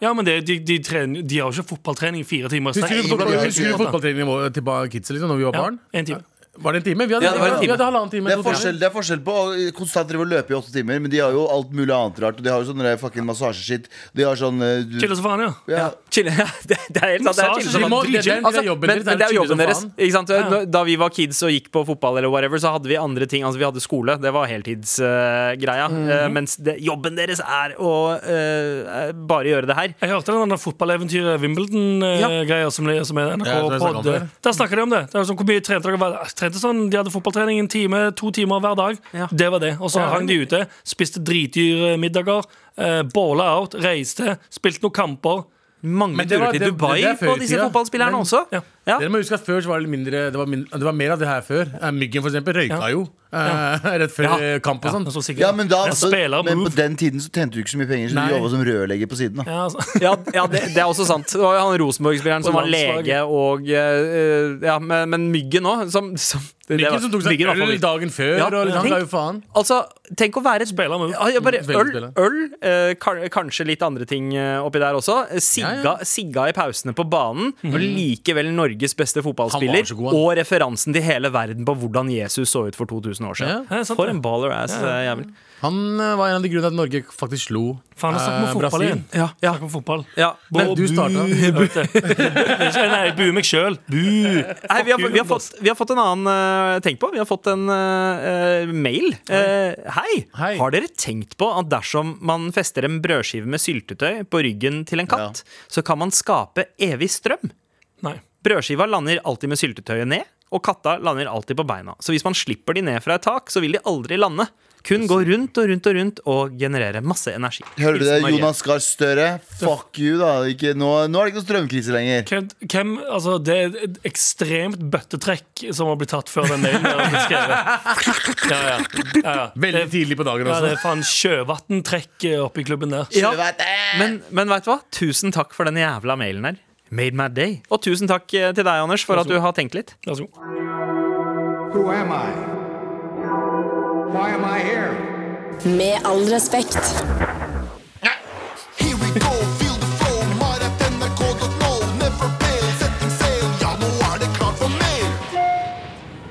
Ja, men det, de, de, trener, de har jo ikke fotballtrening i fire timer. Husker du, Nei, fotball, det er- husker du fotballtreningen vår til ba- kidsa liksom, når vi var Ja, barn? en time. Var det en time? Vi hadde, Ja, det var en Vi time. hadde halvannen time. Det er, to timer. forskjell, det er forskjell på å konstant drive og løpe i åtte timer, men de har jo alt mulig annet rart. Og de har jo sånn der fucking massasjeskitt. De har sånn eh, du- Chiller som faen, ja. ja. Chill, ja, det, det er helt sant. Det er Massasje, chill de som må- faen. det- det er en del av Altså, jobben men, deres, det men er det er chill jo jobben som deres. faen. Ikke sant? Ja. Når- Da vi var kids og gikk på fotball, eller whatever, så hadde vi andre ting. Altså, vi hadde skole, det var heltidsgreia. Mhm. Eh, mens det, jobben deres er å eh, bare gjøre det her. Jeg hørte den der fotballeventyret Wimbledon-greia som, det- som er Ja, det er NRK-pod. snakket om før. Der snakker de om det. det er sånn, hvor mye trente dere hver Trente sånn, De hadde fotballtrening en time, to timer hver dag. Ja. Det var det. Og så Ja. hang de ute, spiste dritdyre middager, eh, båla out, reiste, spilte noen kamper. Mange Men det var- turer til det- Dubai det er før på i disse tida. fotballspillerne Men- også. Ja. Ja. Dere må huske at før så var det mindre Det var, min- det var mer av det her før. Eh, Myggen, for eksempel, røyka Ja. jo eh, rett før Ja. eh, kamp og Ja, sånn. men så sikkert. ja, men da En spiller Men på move. den tiden så tjente du ikke så mye penger, så Nei. du jobba som rørlegger på siden. da Ja, altså. Ja, ja det, det er også sant. Det var jo han Rosenborg-spilleren som var landslaget. lege og eh, Ja, men, men Myggen òg, som, som det- det var- Myggen som tok seg Myggen var øl favoritt. dagen før, Ja, og liksom, han tenk- ga jo faen. Altså, tenk å være et Spiller med- Ja, ja, bare, Mm, veldig øl, spiller. øl eh, kan- kanskje litt andre ting eh, oppi der også. Eh, Sigga, Ja, Mhm. sigga i pausene på banen, og likevel Norges beste Han fotballspiller. var så god, han. Og referansen til hele verden på hvordan Jesus så ut for 2000 år siden. Ja, det er sant, for det. en baller ass, eh, jævel. Han eh, var en av de grunnene til at Norge faktisk slo Faen, jeg snakker eh, om fotball igjen. Ja, ja. Snakker om fotball. Ja. Men Bo- du starta. bu- Vet du. Ikke- Nei, bu meg sjøl. Nei, vi, har, vi, har fått, vi har fått en annen eh, Tenk på, vi har fått en eh, eh, mail. Eh, hei. Hei. Har dere tenkt på at dersom man fester en brødskive med syltetøy på ryggen til en katt, så kan man skape evig strøm? Nei. Brødskiva lander alltid med syltetøyet ned, og katta lander alltid på beina. Så hvis man slipper de ned fra et tak, så vil de aldri lande. Kun gå rundt og rundt og rundt og generere masse energi. Hører du det, Hilsen Marie. Jonas Gahr Støre? Fuck you, da. Ikke, nå, nå er det ikke noen strømkrise lenger. Hvem, hvem, altså, det er et ekstremt bøttetrekk som har blitt tatt før den mailen er blitt skrevet. Ja, ja. ja, ja. Veldig tidlig på dagen Ja, det også. er faen sjøvanntrekk oppe i klubben der. Ja, Du vet det. men, men vet du hva? Tusen takk for den jævla mailen her. Made my day. Og tusen takk eh, til deg, Anders, for at du har tenkt litt. Vær så god. Who am I? Why am I here? Med all respekt. Here we go, feel the flow. Maratnrk.no, never fail. Setting sail, ja, nå er det klart for mer.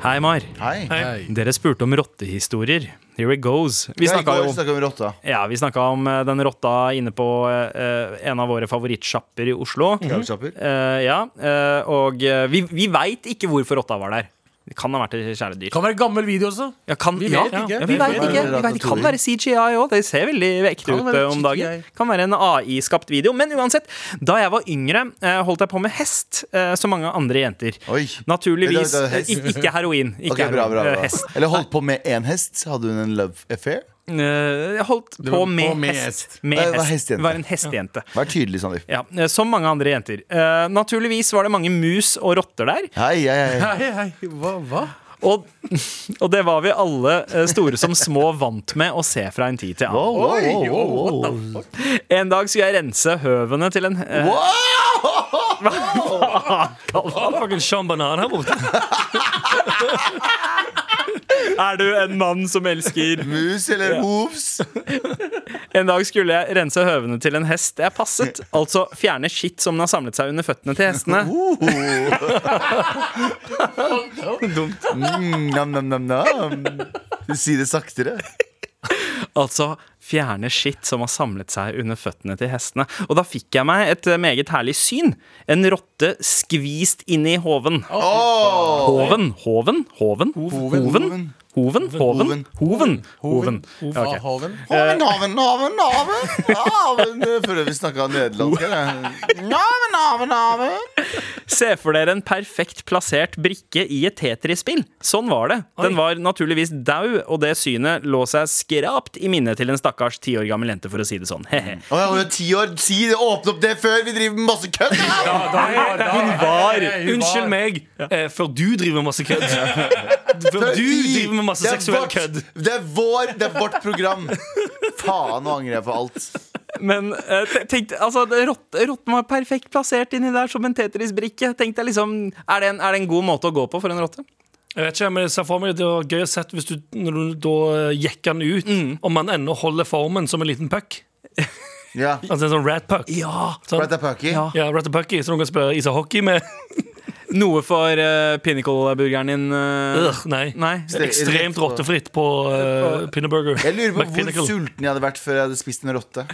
Hei, Mar. Hei. Hei. Dere spurte om rottehistorier. Here it goes. Vi Ja, I snakka går jo snakket vi om rotta. Ja, vi snakka om eh, den rotta inne på eh, en av våre favorittsjapper i Oslo. Kebabsjapper. Eh, ja, eh, og eh, vi, vi veit ikke hvorfor rotta var der. Det kan ha vært et kjæledyr. Kan være gammel video også. Ja, kan, Vi ja, vet ikke. Ja, vi vet ikke. Vi vet, det kan være CGI òg. Det ser veldig ekte Kan ut være eh, om dagen. CGI. Kan være en AI-skapt video. Men uansett, da jeg var yngre, eh, holdt jeg på med hest, eh, som mange andre jenter. Oi. Naturligvis Det er- det er hest. eh, ikke heroin. Ikke Ok, bra, bra, heroin, eh, bra. Hest. Eller holdt på med én hest. Hadde hun en love affair? Eh, Jeg holdt var på med, på med hest. hest. Med Jeg var hest. hestjente. Var en hestejente. Vær tydelig, Sandeep. Ja, eh, Som mange andre jenter. Eh, naturligvis var det mange mus og rotter der. Hei, hei, hei. Hei, hei. Hva? hva? Og, og det var vi alle, eh, store som små, vant med å se fra en tid til annen. Wow, wow, wow, wow, wow. En dag skulle jeg rense høvene til en eh, Fucking Sean Banan her borte. Er du en mann som elsker Mus eller moves? En dag skulle jeg rense høvene til en hest jeg passet. Altså fjerne skitt som den har samlet seg under føttene til hestene. Mm, nam, nam, nam, nam. Si det saktere. Altså fjerne skitt som har samlet seg under føttene til hestene. Og da fikk jeg meg et eh, meget herlig syn. En rotte skvist inn i hoven. Hoven, hoven, hoven, hoven, hoven, hoven, hoven, hoven. hoven. Ja, ok. Hoven? Hoven, hoven, hoven, hoven. hoven. Før vi snakka nederlandsk her. Hoven, hoven, hoven. Se for dere en perfekt plassert brikke i et Tetris-spill. Sånn var det. Den var naturligvis dau, og det synet lå seg skrapt i minnet til en stakkars ti år gammel jente, for å si det sånn. Hehe. Å, jeg holder ti år. Si det, åpne opp det før vi driver med masse kødd! her. Hun var- Unnskyld meg, eh, før du driver med masse kødd. Før du Vi- driver med masse det er seksuell vårt- kødd. Det er vår, det er vårt program. Faen, nå angrer jeg på alt. Men eh, te- tenk, altså, det- rott, rotten var perfekt plassert inni der som en Tetris-brikke. Tenkte jeg liksom, er det, en, er det en god måte å gå på for en rotte? Jeg vet ikke, men jeg ser for meg Det var gøy å sett hvis du, når du da eh, jekker den ut, om man ennå holder formen som en liten puck. Ja. Altså en sånn rat puck. Ja, sånn, Right up, Aki. Ja. ja rat and pucky, som du kan spille ishockey med. Noe for uh, pinnacle-burgeren din? eh, Øh, nei. Nei. Ekstremt rottefritt på uh, pinneburger. Jeg lurer på hvor McPinnacle. sulten jeg hadde vært før jeg hadde spist en rotte.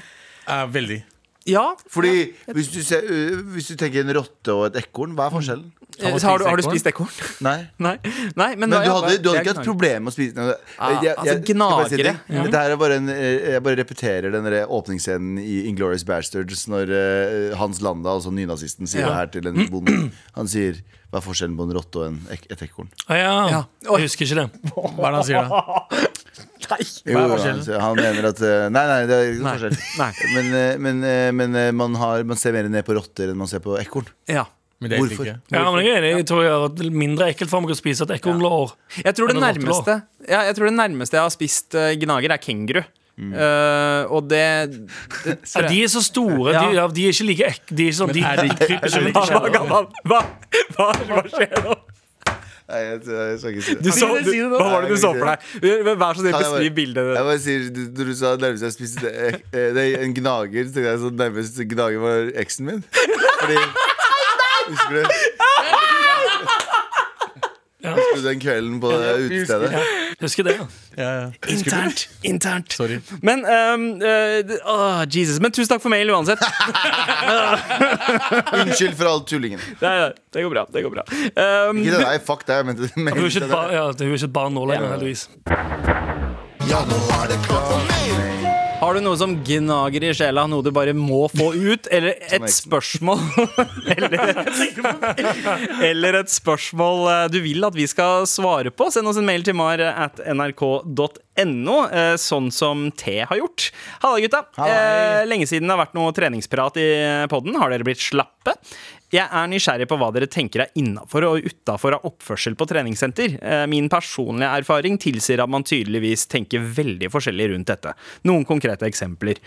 Er veldig. Ja. Fordi hvis du, ser, øh, hvis du tenker en rotte og et ekorn, hva er forskjellen? Eh, så har, du, har du spist ekorn? Nei Nei. Nei men men da- du hadde, du hadde det er ikke hatt gnager. problem med å spise noe Ah, altså, skal bare si en gnagere. ting. Dette her er bare en, eh, Jeg bare repeterer den der åpningsscenen i Inglorious Bastards når eh, Hans Landa, altså nynazisten, sier det her til en bonde. Han sier Hva er forskjellen på en rotte og en ek et ekorn? Ah, ja. Jeg husker ikke det. Hva er det han sier da? Jo, han, sier- han mener at eh, Nei, nei, det er ikke noen Nei, forskjell. nei. Men, eh, men, eh, men eh, man, har, man ser mer ned på rotter enn man ser på ekorn. Ja. Men det er egentlig Hvorfor? ikke. Ja, men jeg er enig. Jeg tror jeg har et mindre ekkelt for meg å spise et ekornlår. Jeg tror, det Eller rottelår. nærmeste, ja, jeg tror det nærmeste jeg har spist eh, gnager, er kenguru. Eh, og det, det Ja, de er så store. De, ja, de er ikke like ek... De er ikke sånn, de, er de- de kryper ikke rundt i Hva, kjelleren. hva, hva, hva, hva skjer nå? Nei, jeg, jeg, jeg skal ikke si det. Du så, det, du, si det nå. hva var det du så for deg? Vær så snill, Kan jeg bare- beskriv bildet. Jeg bare sier, du- Når du sa nærmest jeg spiste ek- eh, nei, en gnager, så tenkte jeg sånn nærmest gnager var eksen min. Fordi Husker du? Husker du den kvelden på det utestedet? Husker det. ja. Internt. internt Sorry. Men ehm, eh, det- åh, Jesus, men tusen takk for mail uansett. Unnskyld for all tullingen. Det, er- det går bra. det går bra Ehm, Ikke det, nei, fuck deg. Jeg mente det. Hun er ikke et barn, ja, hun er ikke et barn nå lenger, heldigvis. Ja, nå er det klart for mer. Har Har du noe som gnager i sjela, noe du bare må få ut, eller et spørsmål eller, eller et spørsmål eh, du vil at vi skal svare på, send oss en mail til mar at nrk.no, eh, sånn som T har gjort. Halla, gutta. Eh, Lenge siden det har vært noe treningsprat i podden. Har dere blitt slappe? Jeg er nysgjerrig på hva dere tenker er innafor og utafor av oppførsel på treningssenter. Eh, Min personlige erfaring tilsier at man tydeligvis tenker veldig forskjellig rundt dette. Noen konkrete eksempler.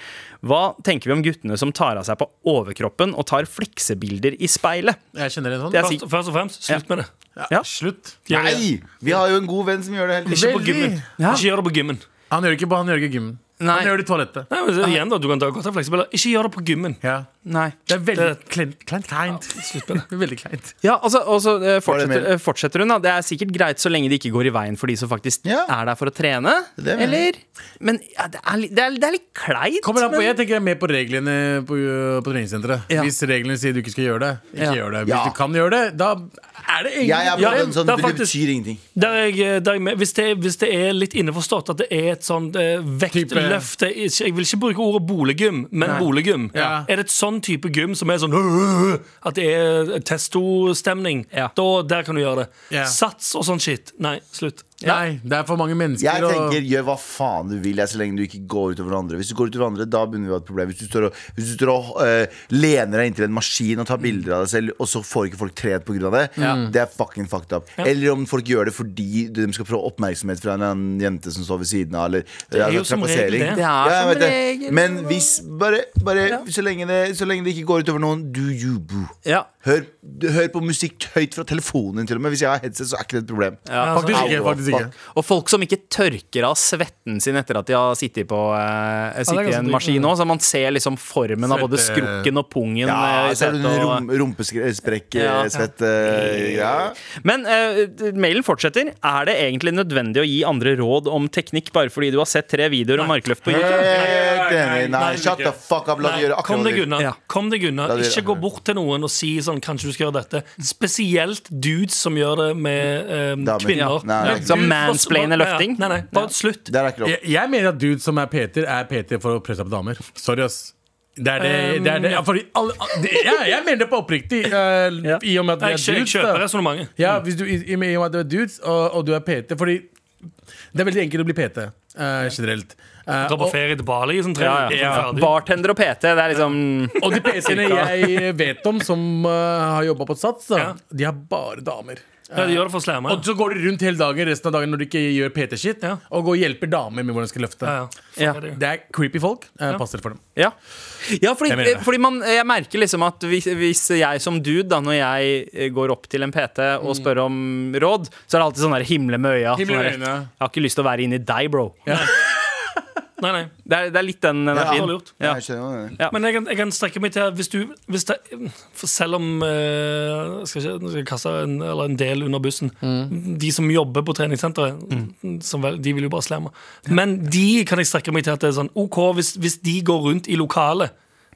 Hva tenker vi om guttene som tar av seg på overkroppen og tar fleksebilder i speilet? Jeg kjenner en sånn. Det er Først, først og fremst, slutt med det. Ja. Slutt. Gjør det. Nei! Vi har jo en god venn som gjør det hele Ikke tiden. på gymmen. Ja. Ikke gjør det på gymmen. Han gjør det ikke på han gjør det ikke i gymmen. Nei. Han gjør det i toalettet. Nei, men så igjen da, Du kan ta godt av fleksibler. Ikke gjør det på gymmen. Ja. Nei. Det er veldig Det- kleint. Kleint. kleint. Veldig kleint. Ja, altså, og så eh, mer? fortsetter, eh, fortsetter hun, da. Det er sikkert greit så lenge det ikke går i veien for de som faktisk Ja. er der for å trene. Det mener Eller jeg. Men ja, det, er, litt- det, er, det er litt kleint. Kommer an på, men- jeg tenker jeg er mer på reglene på, på treningssenteret. Ja. Hvis reglene sier du ikke skal gjøre det, ikke Ja. gjør det. Hvis Ja. du kan gjøre det, da er det Jeg er egentlig på Ja, den sånn, det er det, faktisk- betyr ingenting. Der jeg, eh, der jeg, med- hvis, det, hvis det er litt innforstått at det er et sånn eh, vektløft det er ikke, Jeg vil ikke bruke ordet boliggym, men boliggym. Ja. Er det et sånn type gym som er sånn øh, At det er testostemning, Ja. da der kan du gjøre det. Ja. Sats og sånn shit. Nei, slutt. Nei, det er for mange mennesker. Jeg og- tenker, gjør hva faen du vil jeg, så lenge du ikke går utover andre. Hvis du går utover andre, da begynner vi å ha et problem. Hvis du står og, hvis du står og eh, lener deg inntil en maskin og tar bilder av deg selv, og så får ikke folk trent pga. det, det er fucking fucked up. Eller om folk gjør det fordi de skal prøve oppmerksomhet fra en eller annen jente som står ved siden av, eller Det jo som regel det. Det er jeg som vet det. regel- Men hvis bare, bare så, lenge det, så lenge det ikke går utover noen, do you boo. Ja. Hør, hør på musikk høyt fra telefonen din, til og med. Hvis jeg har headset, så er ikke det et problem. Faktisk Au, ikke. hva faktisk ikke fuck. Og folk som ikke tørker av svetten sin etter at de har sittet på eh, sittet i ganske en dyrt. maskin òg, så man ser liksom formen av både Svette- skrukken og pungen. eh, Ja, i så er setet det en og- rom, rumpesprekk, Ja. eh, svett eh, ja. Men eh, mailen fortsetter. Er det egentlig nødvendig å gi andre råd om teknikk bare fordi du har sett tre videoer om markløft på YouTube? Helt enig. Eh, Nei, nei, shut ikke. the fuck up. La Nei, dem gjøre kom akkurat hva deg de vil. unna. Ja. Kom deg unna. La de gjøre Ikke gå bort til noen og si sånn Kanskje du skal gjøre dette. Spesielt dudes som gjør det med ehm, Damer. kvinner. Ja. Nei, nei. Gud, Som hva- mansplainer hva- ja, løfting? Nei, nei, bare slutt. Der er ikke lov. Jeg, jeg mener at dude som er Peter, er Peter for å presse opp damer. Sorry, ass. Det er det, det, er det. Ja, fordi alle, det ja, Jeg mener det på oppriktig, eh, i og med at vi Jeg, er kjø- jeg dudes. kjøper da. resonnementet. Ja, hvis du, i, i, I og med at du er dudes, og, og du er PT Fordi det er veldig enkelt å bli PT eh, generelt. Eh, Dra på og, ferie til Bali i sånn tre Ja, uker. ja. sånn ferdig. Bartender og PT, det er liksom og de PT-ene jeg vet om som eh, har jobba på Sats, da, Ja. de har bare damer. Ja, de gjør det for å slemme. Og så går de rundt hele dagen resten av dagen når de ikke gjør PT-shit, Ja. og går og hjelper damer med hvordan de skal løfte. Ja, ja. Fuck Ja. er det. Det er creepy folk. Eh, Pass dere for dem. Ja, ja fordi, Jeg mener det. fordi man, jeg merker liksom at hvis, hvis jeg som dude, da, når jeg eh, går opp til en PT og spør om råd, så er det alltid sånn der himle med øya. Himmel Sånn med der, øynene. Jeg har ikke lyst til å være inni deg, bro. Nei, nei. Det, er, det er litt den energien. Dårlig gjort. Ja. Jeg skjønner hva du mener. Men jeg kan, jeg kan strekke meg til at hvis du hvis det, for Selv om eh, skal ikke, nå skal jeg kaste en, eller en del under bussen Mm. De som jobber på treningssenteret, som vel, de vil jo bare slemme. Men de kan jeg strekke meg til at det er sånn OK, hvis, hvis de går rundt i lokalet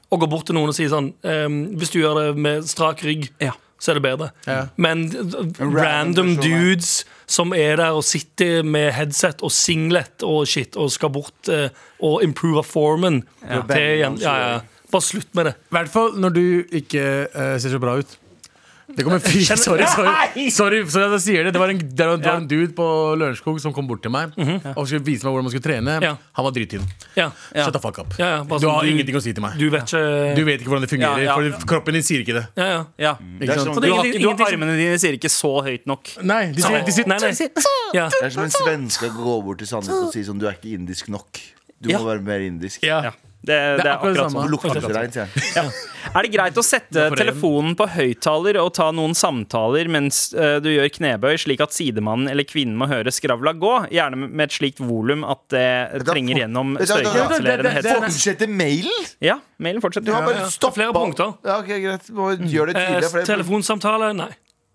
og går bort til noen og sier sånn ehm, Hvis du gjør det med strak rygg, Ja. så er det bedre. Men d- d- random random person, ja. dudes som er der og sitter med headset og singlet og shit og skal bort eh, og improve formen det er igjen, ja, ja. Bare slutt med det. I hvert fall når du ikke eh, ser så bra ut. Det kom en fyr Sorry, sorry, sorry, sorry at jeg sier det. Det var en, det var en, det var en dude på Lørenskog som kom bort til meg og skulle vise meg hvordan man skulle trene. Mhm. Ja. Han var drittynn. Ja, Shut the fuck up. Ja, ja, bare du sånn, har du- ingenting å si til meg. Du vet ikke Du vet ikke hvordan det fungerer, Ja, ja. for kroppen din sier ikke det. ja, ja. Ja. Det er sant? som- Og Du, det- sånn har, ikke- du har Ingenting som- armene dine sier ikke så høyt nok. Nei, de sier, de sier Nei, nei. Ja. det er som en svenske som går bort til Sandnes og sier sånn, du er ikke indisk nok. Du Ja. må være mer indisk. ja. Ja. Det, det er akkurat det akkurat samme. sånn. Du lukter så reint, sier jeg. Er det greit å sette Hvorfor er den? telefonen på høyttaler og ta noen samtaler mens eh, du gjør knebøy, slik at sidemannen eller kvinnen må høre skravla gå? Gjerne med et slikt volum at det da- trenger gjennom Vet du hva, da- støykansellerende Det er- Fortsette mailen! Ja, mailen Du har fortsetter. bare stoppa. Flere punkter. Ja, ok, greit. Må Gjør det Eh, tydelig. for det- telefonsamtale? Nei.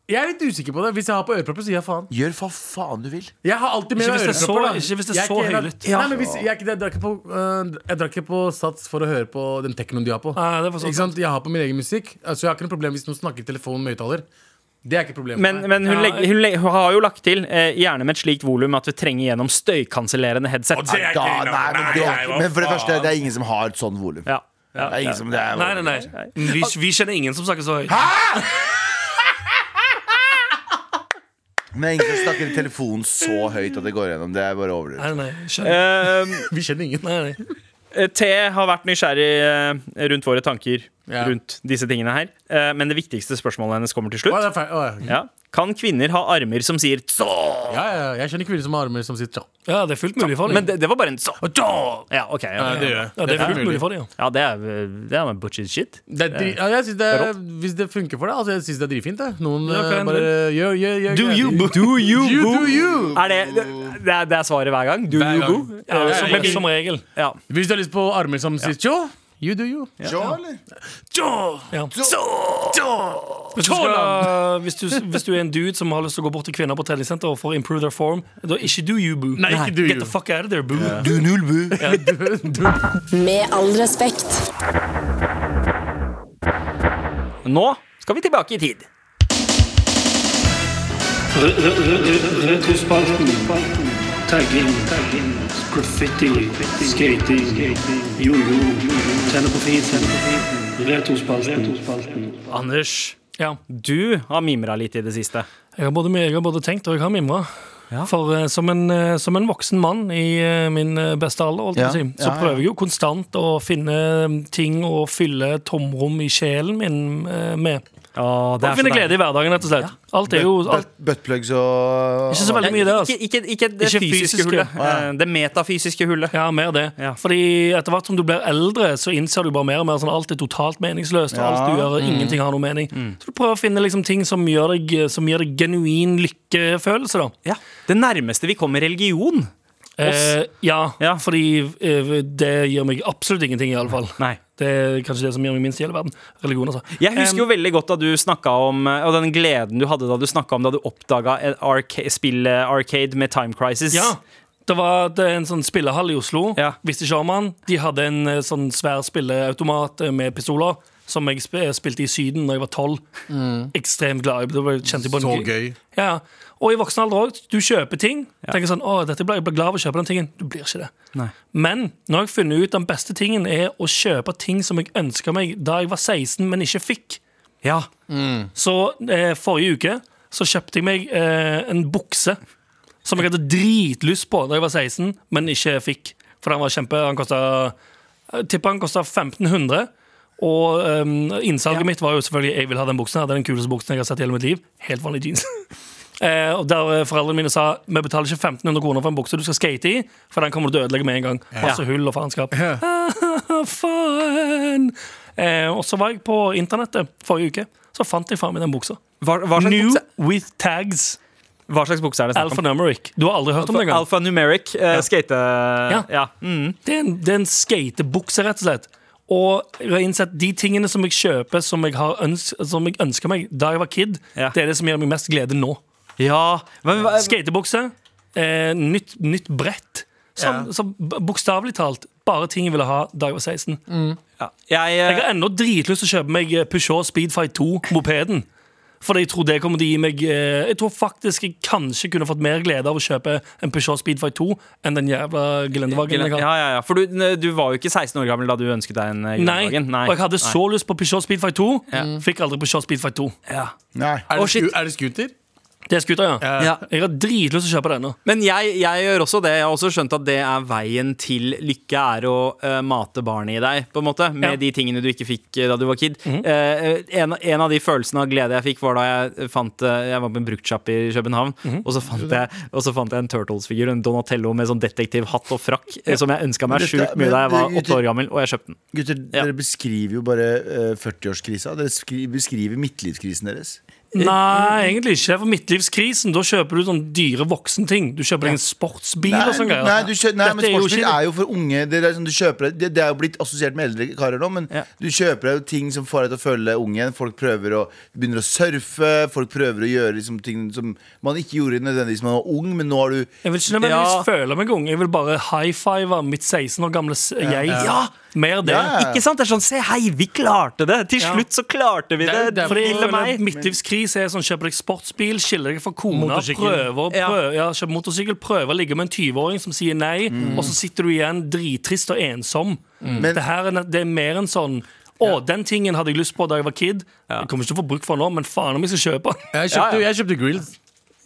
Jeg er litt usikker på det. Hvis jeg har på ørepropper, sier jeg faen. Gjør hva faen du vil. Jeg har alltid med Ikke hvis det er så- ørepropper. da. ikke hvis det er Jeg så ikke en av- høylytt. Nei, men hvis, jeg, er ikke- jeg drar ikke på, øh, jeg drar ikke på Sats for å høre på den teknoen de har på. sånn Nei, det sånn. er for så ikke sant? Jeg har på min egen musikk, altså jeg har ikke noe problem hvis noen snakker i telefonen med høyttaler. Det er ikke problemet. Men, men hun, Ja, legger, hun, legger, hun har jo lagt til, eh, gjerne med et slikt volum, at vi trenger gjennom støykansellerende headset. det er Da, ikke nei, men, det, nei, hva men for det faen? første, det er ingen som har et sånn volum. Ja. Det er ingen som det er Nei, nei, nei. Vi, vi kjenner ingen som snakker så høyt. Men det er ingen som snakker i telefonen så høyt at det går gjennom. Det er bare overdrivet. Nei, nei, skjønner. Eh, Vi kjenner ingen. Nei, nei. Eh, T har vært nysgjerrig eh, rundt våre tanker Ja. rundt disse tingene her. Eh, Men det viktigste spørsmålet hennes kommer til Å, slutt. det er feil. Å, ja. Ja. Kan kvinner ha armer som sier tså? Ja, ja, ja. Jeg kjenner kvinner som har armer som sånn. sier tja. Ja, det er fullt mulig for Men dem. det, det var bare en tså. Ja, ok. Ja, Ja, ja. det gjør jeg. Ja, det er fullt mulig for dem, ja. ja det er det er med butchy shit. Det er, dri- ja, jeg synes det er, hvis det funker for deg, altså, jeg synes det er drivfint. Det. Noen Ja, hva eh, enn bare gjør, gjør, gjør Do greia you, di. boo? Do you You boo? do you. Er det, det, det er, det er svaret hver gang? Do Hver you gang. boo? Ja, Eh, som, med bil- som regel. ja. Hvis du har lyst på armer som sier tjå, you do you. Ja, eller? Ja. Hvis du, skal, hvis, du, hvis du er en dude som har lyst til å gå bort til kvinner på treningssenter og for improve their form, da ikke do you, boo. Nei, ikke do Get you. the fuck out of there, boo. Du null bu. Med all respekt. Nå skal vi tilbake i tid. Retrospalten. Tagging. Graffiti. Skating. Jojo. Tenne på fisen. Retrospalten. Anders, Ja. du har mimra litt i det siste. Jeg har både, jeg har både tenkt og jeg har mimra. For eh, som, en, eh, som en voksen mann i eh, min eh, beste alder, holdt jeg på Ja, å si, så ja, ja. prøver jeg jo konstant å finne eh, ting og fylle tomrom i sjelen min eh, med. Å, det er Og så finne deilig. glede i hverdagen, rett og slett. Alt er jo alt, Buttplugs og Ikke så veldig mye, det. altså Ikke, ikke, ikke det Ikke fysiske, fysiske. hullet. eh, Det metafysiske hullet. Ja, mer det. Ja. Fordi etter hvert som du blir eldre, så innser du bare mer og mer sånn alt er totalt meningsløst. Og alt du gjør, Mm. ingenting har noe mening. Så du prøver å finne liksom ting som, gjør deg, som gir deg genuin lykkefølelse, da. Ja. Det nærmeste vi kommer religion. Eh, ja, Ja. fordi eh, det gir meg absolutt ingenting, iallfall. Nei. Det er kanskje det som gir meg minst i hele verden. Religion, altså. Jeg husker jo Em, veldig godt da du snakket om eh, Og den gleden du hadde da du snakka om da du oppdaga spillet Arcade med Time Crisis. ja, det var det er en sånn spillehall i Oslo. Ja. Visste ikke om han. De hadde en eh, sånn svær spilleautomat eh, med pistoler. Som jeg sp eh, spilte i Syden da jeg var tolv. Ekstremt glad. i- Da ble- kjente jeg på en gøy- Så gøy. Ja, ja. Og i voksen alder òg. Du kjøper ting. Tenker sånn, å, dette ble, jeg ble glad av å kjøpe den tingen. Du blir ikke det. Nei. Men nå har jeg funnet ut den beste tingen er å kjøpe ting som jeg ønska meg da jeg var 16, men ikke fikk. Ja. Så eh, forrige uke så kjøpte jeg meg eh, en bukse som jeg hadde dritlyst på da jeg var 16, men ikke fikk. For den var kjempe Han kosta jeg Tipper han kosta 1500. Og eh, innsalget mitt var jo selvfølgelig jeg vil ha den buksen. her, Det er den kuleste buksen jeg har sett i hele mitt liv. Helt vanlig jeans. Eh, og der eh, Foreldrene mine sa vi betaler ikke 1500 kroner for en bukse du skal skate i, for den kommer du til å ødelegge med en gang. Masse hull og faenskap. Faen! Eh, og så var jeg på internettet forrige uke. Så fant jeg faen meg den buksa. Hva, hva, slags New bukse, with tags. hva slags bukse er det snakk om? Alphanumeric. Du har aldri hørt om det engang. Alphanumeric eh, skate... Ja. Mm. Det er en, det er en skatebukse, rett og slett. Og jeg har innsett de tingene som jeg kjøper som jeg, har øns som jeg ønska meg da jeg var kid, Ja. det er det som gjør meg mest glede nå. ja. Men, hva- Skatebukse, eh, nytt, nytt brett. Som, som b- bokstavelig talt bare ting jeg ville ha da jeg var 16. ja. Jeg, Jeg eh, har ennå dritlyst til å kjøpe meg eh, Peugeot Speedfight 2, mopeden. Fordi jeg tror det kommer til å gi meg eh, Jeg tror faktisk jeg kanskje kunne fått mer glede av å kjøpe en Peugeot Speedfight 2 enn den jævla gelendervognen jeg ja, har. ja, ja. For du, du var jo ikke 16 år gammel da du ønsket deg en eh, Nei. juledagen. Og jeg hadde så lyst på Peugeot Speedfight 2. Fikk aldri Peugeot Speedfight 2. Nei. Er det, Å, shit. sku- er det scooter? Det er skuta, ja. Ja. Jeg har dritlyst til å kjøpe det ennå. Men jeg, jeg gjør også det. Jeg har også skjønt at det er veien til lykke er å eh, mate barnet i deg, på en måte. Med Ja. de tingene du ikke fikk eh, da du var kid. Eh, en, en av de følelsene av glede jeg fikk, var da jeg fant eh, Jeg var på en bruktsjapp i København, og, så fant jeg, og så fant jeg en Turtles-figur, en Donatello med sånn detektivhatt og frakk, eh, som jeg ønska meg Dette- sjukt mye da jeg men var det- åtte år gammel, og jeg kjøpte den. Gutter, Ja. dere beskriver jo bare eh, 40-årskrisa. Dere skri beskriver midtlivskrisen deres. Nei, egentlig ikke. For midtlivskrisen, da kjøper du sånn dyre voksenting. Du kjøper deg en sportsbil og sånn greier. nei, du kjø nei men Dette er jo sportsbil ikke- er jo for unge. Det er, sånn, du kjøper, det, det er jo blitt assosiert med eldre karer nå, men Ja. du kjøper deg jo ting som får deg til å føle deg ung igjen. Folk prøver å begynner å surfe, folk prøver å gjøre liksom, ting som man ikke gjorde nødvendigvis da man var ung, men nå har du Jeg vil ikke nødvendigvis Ja. føle meg ung. Jeg vil bare high five mitt 16 år gamle s- jeg. Ja, Mer det. Ja, ja, ja. Ikke sant? Det er sånn, se hei, vi klarte det! Til slutt så klarte vi det! Fordi jeg Til og føler meg. at Midtlivskrise er sånn kjøper deg sportsbil, skiller deg fra kona, Motorsykkel. prøver, Ja. prøver, ja. kjøper motorsykkel, prøver å ligge med en 20-åring som sier nei, og så sitter du igjen drittrist og ensom. Men- Det, her er, ne- det er mer en sånn å, den tingen hadde jeg lyst på da jeg var kid. Jeg kommer ikke til å få bruk for den nå, men faen om jeg skal kjøpe den. Jeg Ja, kjøpte, ja. jeg kjøpte grills.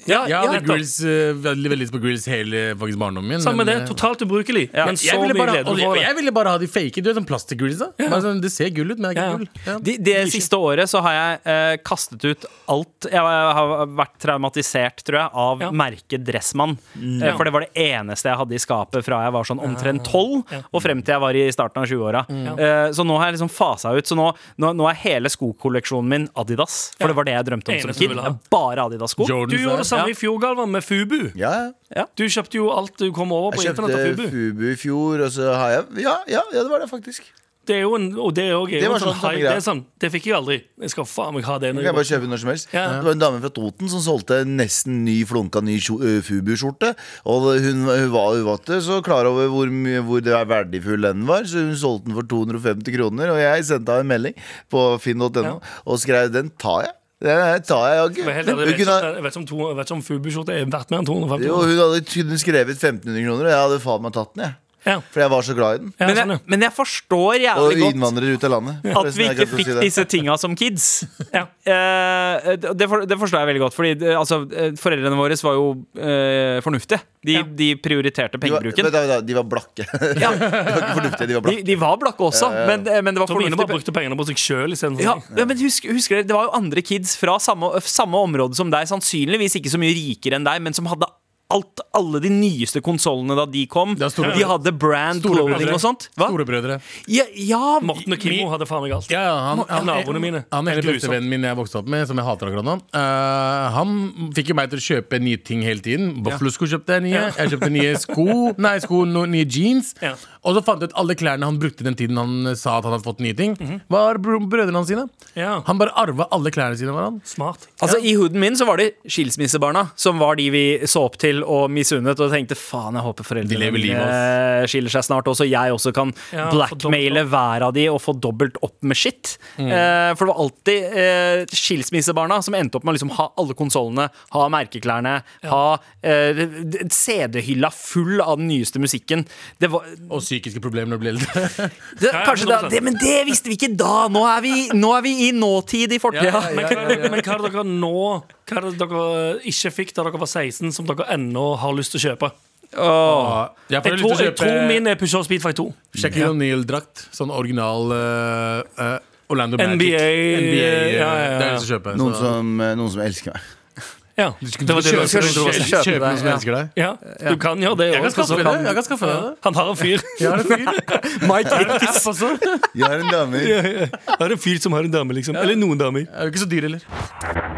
Ja, Jeg hadde nettopp. grills, eh, veldig, veldig lyst på grills hele faktisk barndommen min. Samme det. eh, Totalt ubrukelig. Men så jeg mye ville, bare, glede og du jeg, får. og jeg ville bare ha de fake. Du vet, sånn plastikkgrills. da Bare sånn, Det ser gull ut, men det er Ja, ja. ikke gull. Ja. De, det siste året så har jeg eh, kastet ut alt Jeg har vært traumatisert, tror jeg, av Ja. Mm. merket Dressmann. Eh, For det var det eneste jeg hadde i skapet fra jeg var sånn omtrent tolv og frem til jeg var i starten av 20-åra. Mm. Eh, så nå har jeg liksom fasa ut. Så nå, nå, nå er hele skokolleksjonen min Adidas. For det var det jeg drømte om Eneste som kid. du ville ha. Det er Bare Adidas-sko. Jordans, Du gjorde det samme Ja. i fjor, Galvan, med Fubu. Ja, ja. Du kjøpte jo alt du kom over på Jeg internett av kjøpte Fubu. Fubu i fjor, og så har jeg Ja, ja, ja det var det, faktisk. Det er jo en, og det er jo også Det en var sånn sånn samme hype. greie. Det, er sånn, det fikk jeg aldri. Jeg skal faen meg ha det. når Jeg kan jeg bare kjøpe når som helst Ja. Det var en dame fra Toten som solgte nesten ny flunka ny kjo- ø, Fubu-skjorte. Og hun, hun var hun var ikke så klar over hvor, mye, hvor det er verdifull den var, så hun solgte den for 250 kroner. Og jeg sendte henne en melding på finn.no Ja. og skrev 'den tar jeg'. Den her tar jeg Men ikke. Hun helt ærlig, Jeg vet kunne ikke ha- om- jeg vet ikke om to- jeg vet ikke om Fubu-skjorte er verdt mer enn 250 jo, kroner. hun hadde kunne skrevet 1500 kroner, og jeg hadde faen meg tatt den, jeg. Ja. For jeg var så glad i den. Ja, Men jeg, sånn, ja. men jeg forstår jævlig Og godt innvandrere ut av landet. At Forresten, vi jeg ikke glemte å fikk si det. disse tinga som kids. Ja. Eh, det, for, det forstår jeg veldig godt. Fordi eh, altså, eh, Foreldrene våre var jo eh, fornuftige. De, Ja. de prioriterte De var, pengebruken. vent da, vent da, de var blakke. De Ja, var ikke fornuftige, de var de, blakke. de var blakke også, Men, eh, men det var Tomine bare fornuftig. brukte pengene på seg sjøl istedenfor Ja, seg. ja, men husk, husker dere, Det var jo andre kids fra samme, samme område som deg, sannsynligvis ikke så mye rikere enn deg, men som hadde alt, alle de nyeste konsollene da de kom. Det er store- De hadde brand clothing og sånt. Hva? Storebrødre. Ja, ja Morten og Kimmo hadde faen meg alt. Ja, ja, han, han, Naboene mine. Han hele Grusomt. beste vennen min jeg vokste opp med, som jeg hater akkurat nå, eh, han fikk jo meg til å kjøpe nye ting hele tiden. Buffalo-sko kjøpte jeg nye. Ja. Jeg kjøpte nye sko, nei, sko, no, nye jeans. Ja. Og så fant jeg ut alle klærne han brukte den tiden han eh, sa at han hadde fått nye ting, var bro brødrene hans sine. Ja. Han bare arva alle klærne sine. Var han. Smart. Altså I hooden min så var det skilsmissebarna som var de vi så opp til og misunnet. Og tenkte faen, jeg håper De foreldrene lever livet, mine eh, skiller seg snart, og så jeg også kan Ja, blackmaile få dobbelt hver av de og få dobbelt opp med shit. Eh, for det var alltid eh, skilsmissebarna som endte opp med å liksom ha alle konsollene, ha merkeklærne, ha eh, CD-hylla full av den nyeste musikken. Det var, Og psykiske problemer når du blir eldre. det, Ja, ja, kanskje det, 100%. det, Men det visste vi ikke da! Nå er vi, nå er vi i nåtid i fortida. Men hva, men hva er det dere nå Hva er det dere ikke fikk da dere var 16, som dere ennå har lyst til å kjøpe? jeg får Jeg lyst tror, til å jeg tror kjøpe min er Peugeot Speedfight 2. Shaquille O'Neill-drakt. Sånn original eh, eh, Orlando Magic. NBA, ja, ja, eh, ja. Det er jeg lyst til å kjøpe. Noen så- som, noen som elsker meg. Ja. Det var det du Kjøpe- ønsket. kjøpe- Kjøpe kjøpe noen deg, som ja. elsker deg. Ja, du kan gjøre det Jeg kan også, skaffe så det. kan- Jeg kan skaffe det. Han har en fyr. Jeg har en fyr. Mike Hickes. Jeg har en dame Han har en fyr som har en dame, liksom. Eller noen damer. Er jo ikke så dyr heller.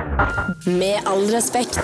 Med all respekt.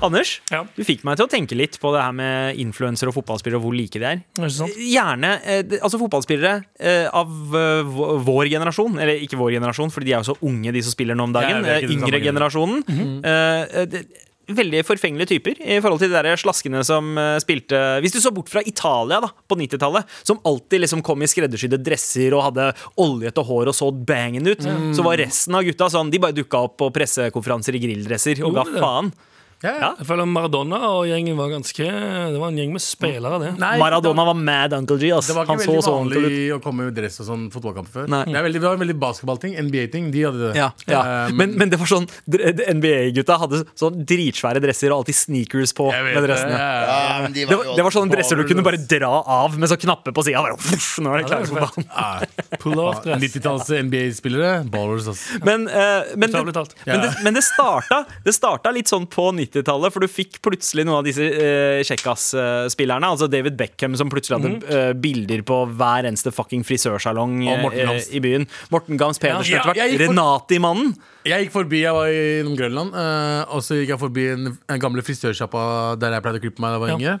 Anders, Ja. du fikk meg til å tenke litt på det her med influensere og fotballspillere og hvor like de er. Er det sant? Gjerne eh, det- altså fotballspillere eh, av eh, vå- vår generasjon, eller ikke vår generasjon, fordi de er jo så unge, de som spiller nå om dagen. Ja, vi er eh, ikke den yngre samme generasjonen. Mhm. Eh, eh, det- Veldig forfengelige typer i forhold til de der slaskene som eh, spilte Hvis du så bort fra Italia da, på 90-tallet, som alltid liksom kom i skreddersydde dresser og hadde oljete hår og så bangen ut, Mm. så var resten av gutta sånn De bare dukka opp på pressekonferanser i grilldresser og ga Gjorde det? faen. Ja. Jeg føler Maradona og gjengen var ganske Det var en gjeng med spillere, det. Nei, Maradona var mad Uncle G. Ass. Det var Han ikke så veldig så vanlig ordentlig ut. å komme i dress og sånn fotballkamp før. Nei. Det, er veldig, det var en veldig basketballting. NBA-ting. De hadde det. Ja, ja. Eh, Men, men det var sånn dre- NBA-gutta hadde sånn dritsvære dresser og alltid sneakers på. jeg vet med det. dressene Ja, ja, Ja, men de Det var, jo det var sånn- sånne baller, dresser du kunne bare dra av med sånne knapper på sida. Nå er det klare for banen. ja. Pull off Ja, dress. 90-talls NBA-spillere. Ballers, ass. Men, eh, men, Bokstavelig det, talt. men, det, men det, starta, det starta litt sånn på 90-tallet, for du fikk plutselig noen av disse uh, Kjekkas-spillerne. altså David Beckham som plutselig hadde eh, bilder på hver eneste fucking frisørsalong Og Morten eh, Gams. i byen. Morten Gams Pedersen Ja, etter hvert. jeg gikk for- Renati-mannen. Jeg gikk forbi, jeg var innom Grønland, eh, og så gikk jeg forbi en, en gamle frisørsjappa der jeg pleide å klippe meg da jeg var Ja. yngre.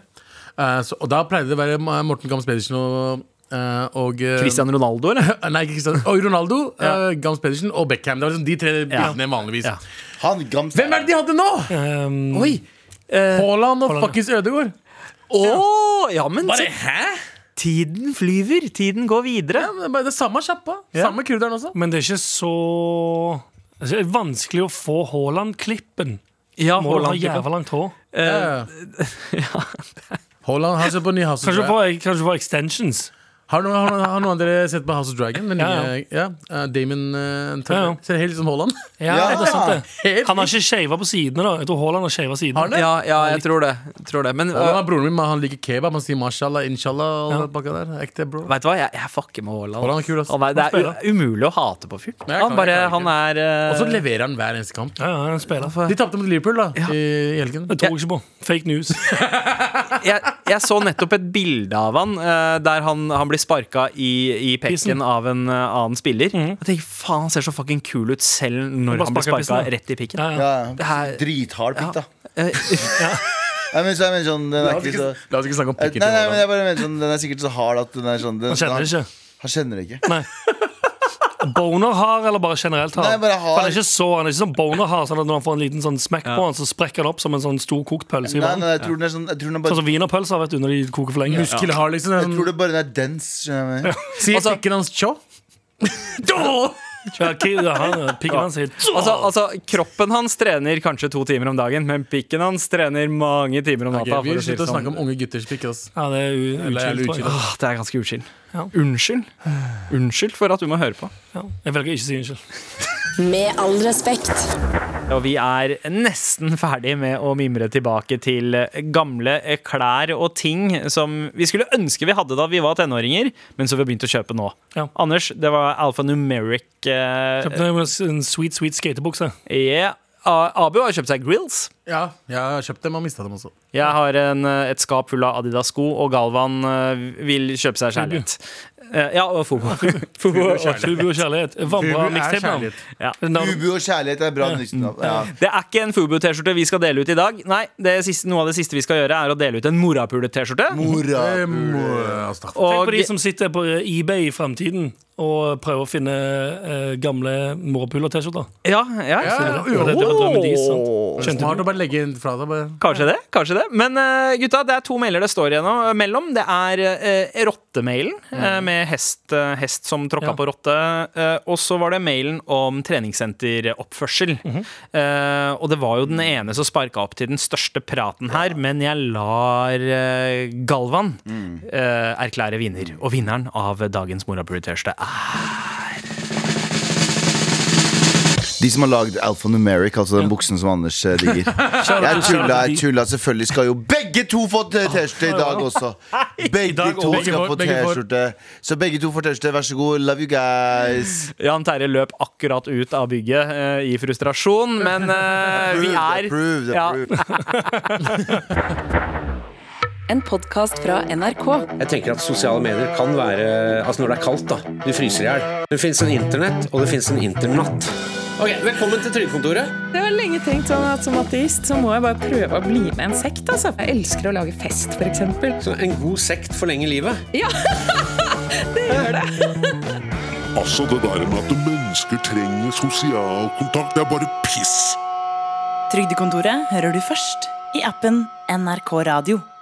Eh, så, og da pleide det å være Ma- Morten Gams Pedersen og, eh, og eh, Cristian Ronaldo, eller? Nei, ikke Christian. Og Ronaldo, eh, Gams Pedersen og Beckham. Det var liksom de tre bildene vanligvis. Ja. Han gams Hvem er det de hadde nå?! Um, Oi! Haaland og fuckings Ødegård. Åh, ja, men så- Bare hæ? Tiden flyver. Tiden går videre. Ja, men det er bare det samme sjappa. Samme kurderen også. Men det er ikke så altså, Det er vanskelig å få Haaland-klippen. Ja, Må du ha Haaland-klippen. jævla langt hår. Haaland har sett på ny House of Kanskje Dra- få, kanskje få extensions. Har noen, har, noen, har noen av dere sett på House of Dragon? Den nye, Ja, ja, eh, Damon eh, Turner. Ja, ja. Ser helt ut som Haaland. Ja, Ja, det er sant det. Helt Han har ikke shava på sidene, da. Jeg tror Haaland har shava sidene. Har han det? Ja, ja, jeg tror det. Tror det. Men Haaland uh, er broren min, men han liker kebab. Han sier mashallah, inshallah. Og Ja. alt bakka der. Ekte bro. øh, Vet du hva, jeg, jeg fucker med Haaland. Haaland er kul, ass. Han er- det er u umulig å hate på fyren. Nei, jeg kan- Han bare, jeg kan han er Og så eh, leverer han hver eneste kamp. Ja, ja, han spiller. De tapte mot Liverpool da Ja. i i helgen. Det tror jeg ikke på. Fake news. jeg, jeg så nettopp et bilde av han eh, der han, han blir sparka i, i Pissen. pekken av en eh, annen spiller. Mhm. Jeg tenker, faen, Han ser så fucking kul ut selv når bare han blir sparka sparker pissen, da. rett i pikken. Ja, ja. Ja, Det her- Drithard pikk, da. Eh, Nei, men så jeg mener sånn, den La er oss ikke ikke, så la oss ikke snakke om Eh, Nei, pikken til nei, men Haaland. jeg bare mener sånn, Den er sikkert så hard at den er sånn den, Han kjenner det ikke. Han kjenner det ikke. Nei. Boner har, eller bare generelt har? Nei, bare har. For Han er ikke så, han er ikke sånn boner har, sånn at når han får en liten sånn smekk på han, så sprekker han opp som en sånn stor kokt pølse Nei, i vann. nei, jeg tror den er sånn Jeg tror den er Sånn bare som wienerpølser, vet du, når de koker for lenge. Muskel har liksom Jeg tror sånn, det bare den er dens. skjønner du hva jeg mener? Sier Altså, pikken hans tjå? Ja, ki- ja, han- eh, Piggen hans sier altså, altså, kroppen hans trener kanskje to timer om dagen, men pikken hans trener mange timer om Ok, natta. vi for å si slutter det å snakke sånn. om unge gutters pikk. ass. Ja, det er u- Eller er det utskilt, tror jeg. utskilt? Åh, det er ganske uskyld. Ja. Unnskyld. Unnskyld for at du må høre på. Ja. Jeg velger å ikke si unnskyld. Med all respekt. Og vi er nesten ferdig med å mimre tilbake til gamle klær og ting som vi skulle ønske vi hadde da vi var tenåringer, men som vi har begynt å kjøpe nå. Ja. Anders, det var alphanumeric eh, Kjøpte meg en sweet, sweet skatebukse. yeah. A- Abu har kjøpt seg grills. Ja, jeg har kjøpt dem og mista dem også. Jeg har en, eh, et skap full av Adidas-sko, og Galvan eh, vil kjøpe seg kjærlighet. Eh, Ja, og Fobo. Fobo og Fubu og kjærlighet. Vandra Fubu er mixtape-navn. kjærlighet. Ja. Ubu og kjærlighet er bra. nytt navn. Ja. Det er ikke en Fubu-T-skjorte vi skal dele ut i dag. Nei, det siste, Noe av det siste vi skal gjøre, er å dele ut en Morapule-T-skjorte. Mora. Ehm, Tenk Og på de som sitter på eh, eBay i fremtiden og prøver å finne eh, gamle morapuler-T-skjorter. Ja, ja, Ja, ja. jo, Det, det var drømmen deres, sant? Skjønte Smart å bare legge inn fra deg. Bare. Kanskje det. kanskje det Men eh, gutta, det er to mailer det står igjennom mellom. Det er eh, rottemailen, eh, med hest, eh, hest som tråkka Ja. på rotte. eh, og så var det mailen om treningssenteroppførsel. Eh, og det var jo den ene som sparka opp til den største praten her, men jeg lar eh, Galvan eh, erklære vinner. Og vinneren av dagens Morapuler-T-skjorte er De som har lagd Alphanumeric, altså den buksen som Anders eh, digger. Jeg tulla, jeg tulla. Selvfølgelig skal jo begge to få t- T-skjorte i dag også. Begge to også. skal få Begge får- T-skjorte. Så begge to får T-skjorte. Vær så god. Love you guys. Jan Terje løp akkurat ut av bygget eh, i frustrasjon, men eh, vi er Approved, Ja. approved. En podkast fra NRK. Jeg tenker at sosiale medier kan være Altså når det er kaldt, da. Du fryser i hjel. Det fins en internett, og det fins en internatt. Ok, Velkommen til Trygdekontoret. Jeg har lenge tenkt sånn at som ateist så må jeg bare prøve å bli med en sekt. Altså. Jeg elsker å lage fest, f.eks. Så En god sekt forlenger livet. Ja, det gjør det. Altså det der med at mennesker trenger sosial kontakt, det er bare piss. Trygdekontoret hører du først i appen NRK Radio.